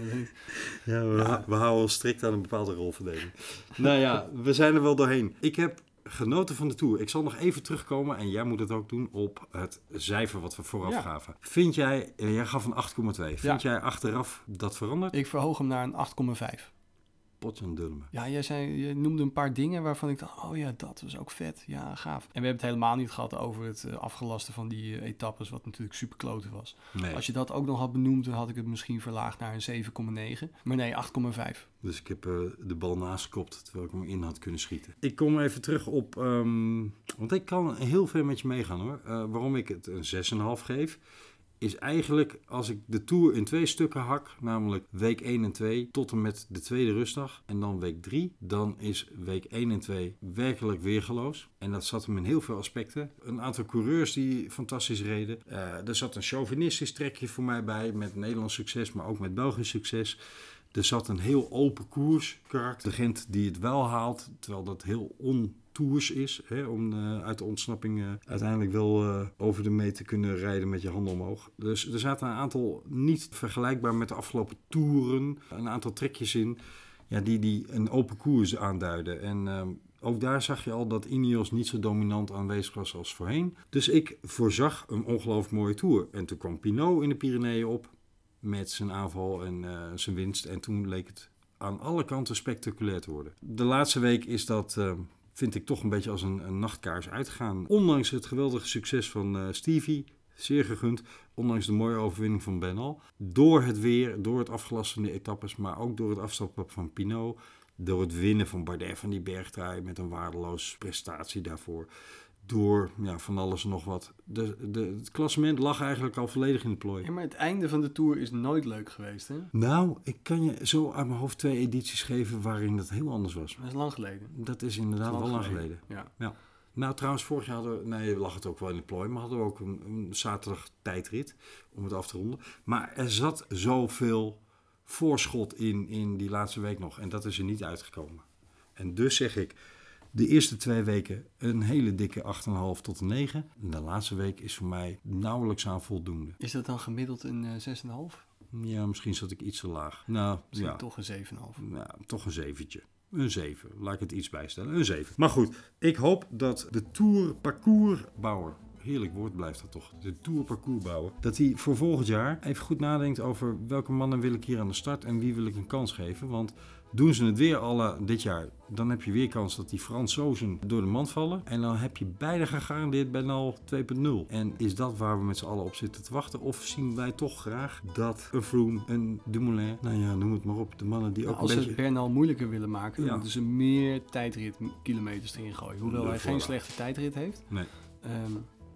Ja, we, we houden ons strikt aan een bepaalde rolverdeling. nou ja, we zijn er wel doorheen. Ik heb genoten van de tour. Ik zal nog even terugkomen, en jij moet het ook doen, op het cijfer wat we vooraf Ja. gaven. Vind jij, eh, jij gaf een 8,2. Vind jij achteraf dat verandert? ik verhoog hem naar een 8,5. Potjandurme. Ja, jij zei, je noemde een paar dingen waarvan ik dacht, oh ja, dat was ook vet. Ja, gaaf. En we hebben het helemaal niet gehad over het eh, afgelasten van die eh, etappes, wat natuurlijk super kloten was. Nee. Als je dat ook nog had benoemd, dan had ik het misschien verlaagd naar een 7,9. Maar nee, 8,5. Dus ik heb eh, de bal naast gekopt, terwijl ik hem in had kunnen schieten. Ik kom even terug op, ehm, want ik kan heel ver met je meegaan hoor. Eh, waarom ik het een 6,5 geef, is eigenlijk als ik de Tour in twee stukken hak, namelijk week 1 en 2 tot en met de tweede rustdag en dan week 3, dan is week 1 en 2 werkelijk weergeloos. En dat zat hem in heel veel aspecten. Een aantal coureurs die fantastisch reden. Eh, er zat een chauvinistisch trekje voor mij bij, met Nederlands succes, maar ook met Belgisch succes. Er zat een heel open koers karakter. De Gent die het wel haalt, terwijl dat heel ontours is. Hè, om eh, uit de ontsnapping eh, uiteindelijk wel eh, over de meet te kunnen rijden met je handen omhoog. Dus er zaten een aantal niet vergelijkbaar met de afgelopen toeren. Een aantal trekjes in ja, die, die een open koers aanduiden. En ehm, ook daar zag je al dat Ineos niet zo dominant aanwezig was als voorheen. Dus ik voorzag een ongelooflijk mooie toer. En toen kwam Pinot in de Pyreneeën op met zijn aanval en eh, zijn winst. En toen leek het aan alle kanten spectaculair te worden. De laatste week is dat, eh, vind ik, toch een beetje als een, een nachtkaars uitgaan. Ondanks het geweldige succes van eh, Stevie, zeer gegund. Ondanks de mooie overwinning van Benal. Door het weer, door het afgelasten van de etappes, maar ook door het afstappen van Pinot. Door het winnen van Bardet van die bergtrui met een waardeloos prestatie daarvoor. Door ja, van alles en nog wat. De, de, het klassement lag eigenlijk al volledig in de plooi. Ja, maar het einde van de Tour is nooit leuk geweest, hè? Nou, ik kan je zo uit mijn hoofd twee edities geven waarin dat heel anders was. Dat is lang geleden. Dat is inderdaad wel lang geleden. Ja. Ja. Nou, trouwens, vorig jaar hadden we, nee, lag het ook wel in de plooi, maar hadden we ook een, een zaterdag tijdrit om het af te ronden. Maar er zat zoveel voorschot in, in die laatste week nog en dat is er niet uitgekomen. En dus zeg ik, de eerste twee weken een hele dikke 8,5 tot een 9. En de laatste week is voor mij nauwelijks aan voldoende. Is dat dan gemiddeld een eh 6,5? Ja, misschien zat ik iets te laag. Nou, Misschien ja. toch een 7,5. Nou, toch een zeventje. Een zeven. Laat ik het iets bijstellen. Een zeven. Maar goed, ik hoop dat de Tour Parcoursbouwer... Heerlijk woord blijft dat toch. De Tour Parcoursbouwer. Dat hij voor volgend jaar even goed nadenkt over... welke mannen wil ik hier aan de start en wie wil ik een kans geven. Want doen ze het weer alle dit jaar... dan heb je weer kans dat die Fransozen door de mand vallen. En dan heb je beide gegarandeerd bij NAL 2.0. En is dat waar we met z'n allen op zitten te wachten? Of zien wij toch graag dat een Vroom, een Dumoulin... nou ja, noem het maar op. De mannen die ook Nou, Als een ze beetje... het Bernal moeilijker willen maken, dan Ja. moeten ze meer tijdritkilometers erin gooien. Hoewel De hij geen voorraad. slechte tijdrit heeft. Nee. Ehm,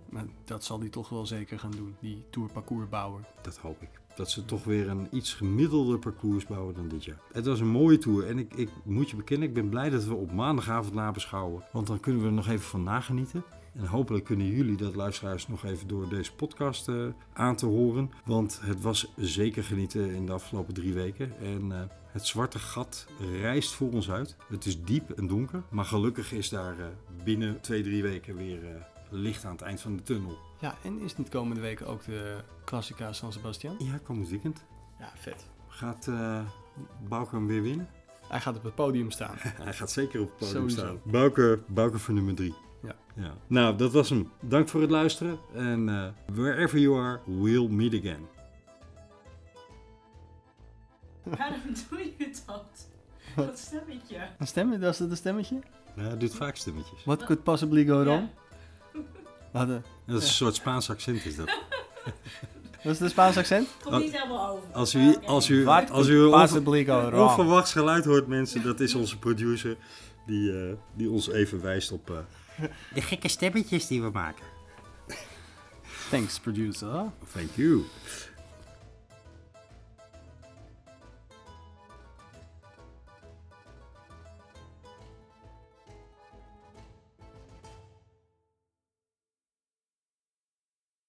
maar dat zal hij toch wel zeker gaan doen, die tourparcoursbouwer. Dat hoop ik. Dat ze toch weer een iets gemiddelder parcours bouwen dan dit jaar. Het was een mooie tour en ik, ik moet je bekennen, ik ben blij dat we op maandagavond nabeschouwen. Want dan kunnen we er nog even van nagenieten. En hopelijk kunnen jullie dat luisteraars nog even door deze podcast eh, aan te horen. Want het was zeker genieten in de afgelopen drie weken. En eh, het zwarte gat rijst voor ons uit. Het is diep en donker. Maar gelukkig is daar eh, binnen twee, drie weken weer eh, licht aan het eind van de tunnel. Ja, en is niet komende week ook de Classica San Sebastian? Ja, kom het weekend. Ja, vet. Gaat eh Bouke hem weer winnen? Hij gaat op het podium staan. Hij gaat zeker op het podium Sowieso. staan. Bouke, Bouke voor nummer 3. Ja. ja. Nou, dat was hem. Dank voor het luisteren. En eh, wherever you are, we'll meet again. Waarom doe je dat? Dat stemmetje. Een stemmetje, was dat een stemmetje? Nou, hij doet vaak stemmetjes. What could possibly go wrong? Ja. Wat, eh, Dat is een soort Spaans accent is dat. Dat is de Spaans accent? Komt niet helemaal over. Als Maar u, oké. als u, What als u een could onver- possibly go wrong? onverwachts geluid hoort, mensen, dat is onze producer. Die, eh, die ons even wijst op... eh, De gekke stemmetjes die we maken. Thanks, producer. Oh, Thank you.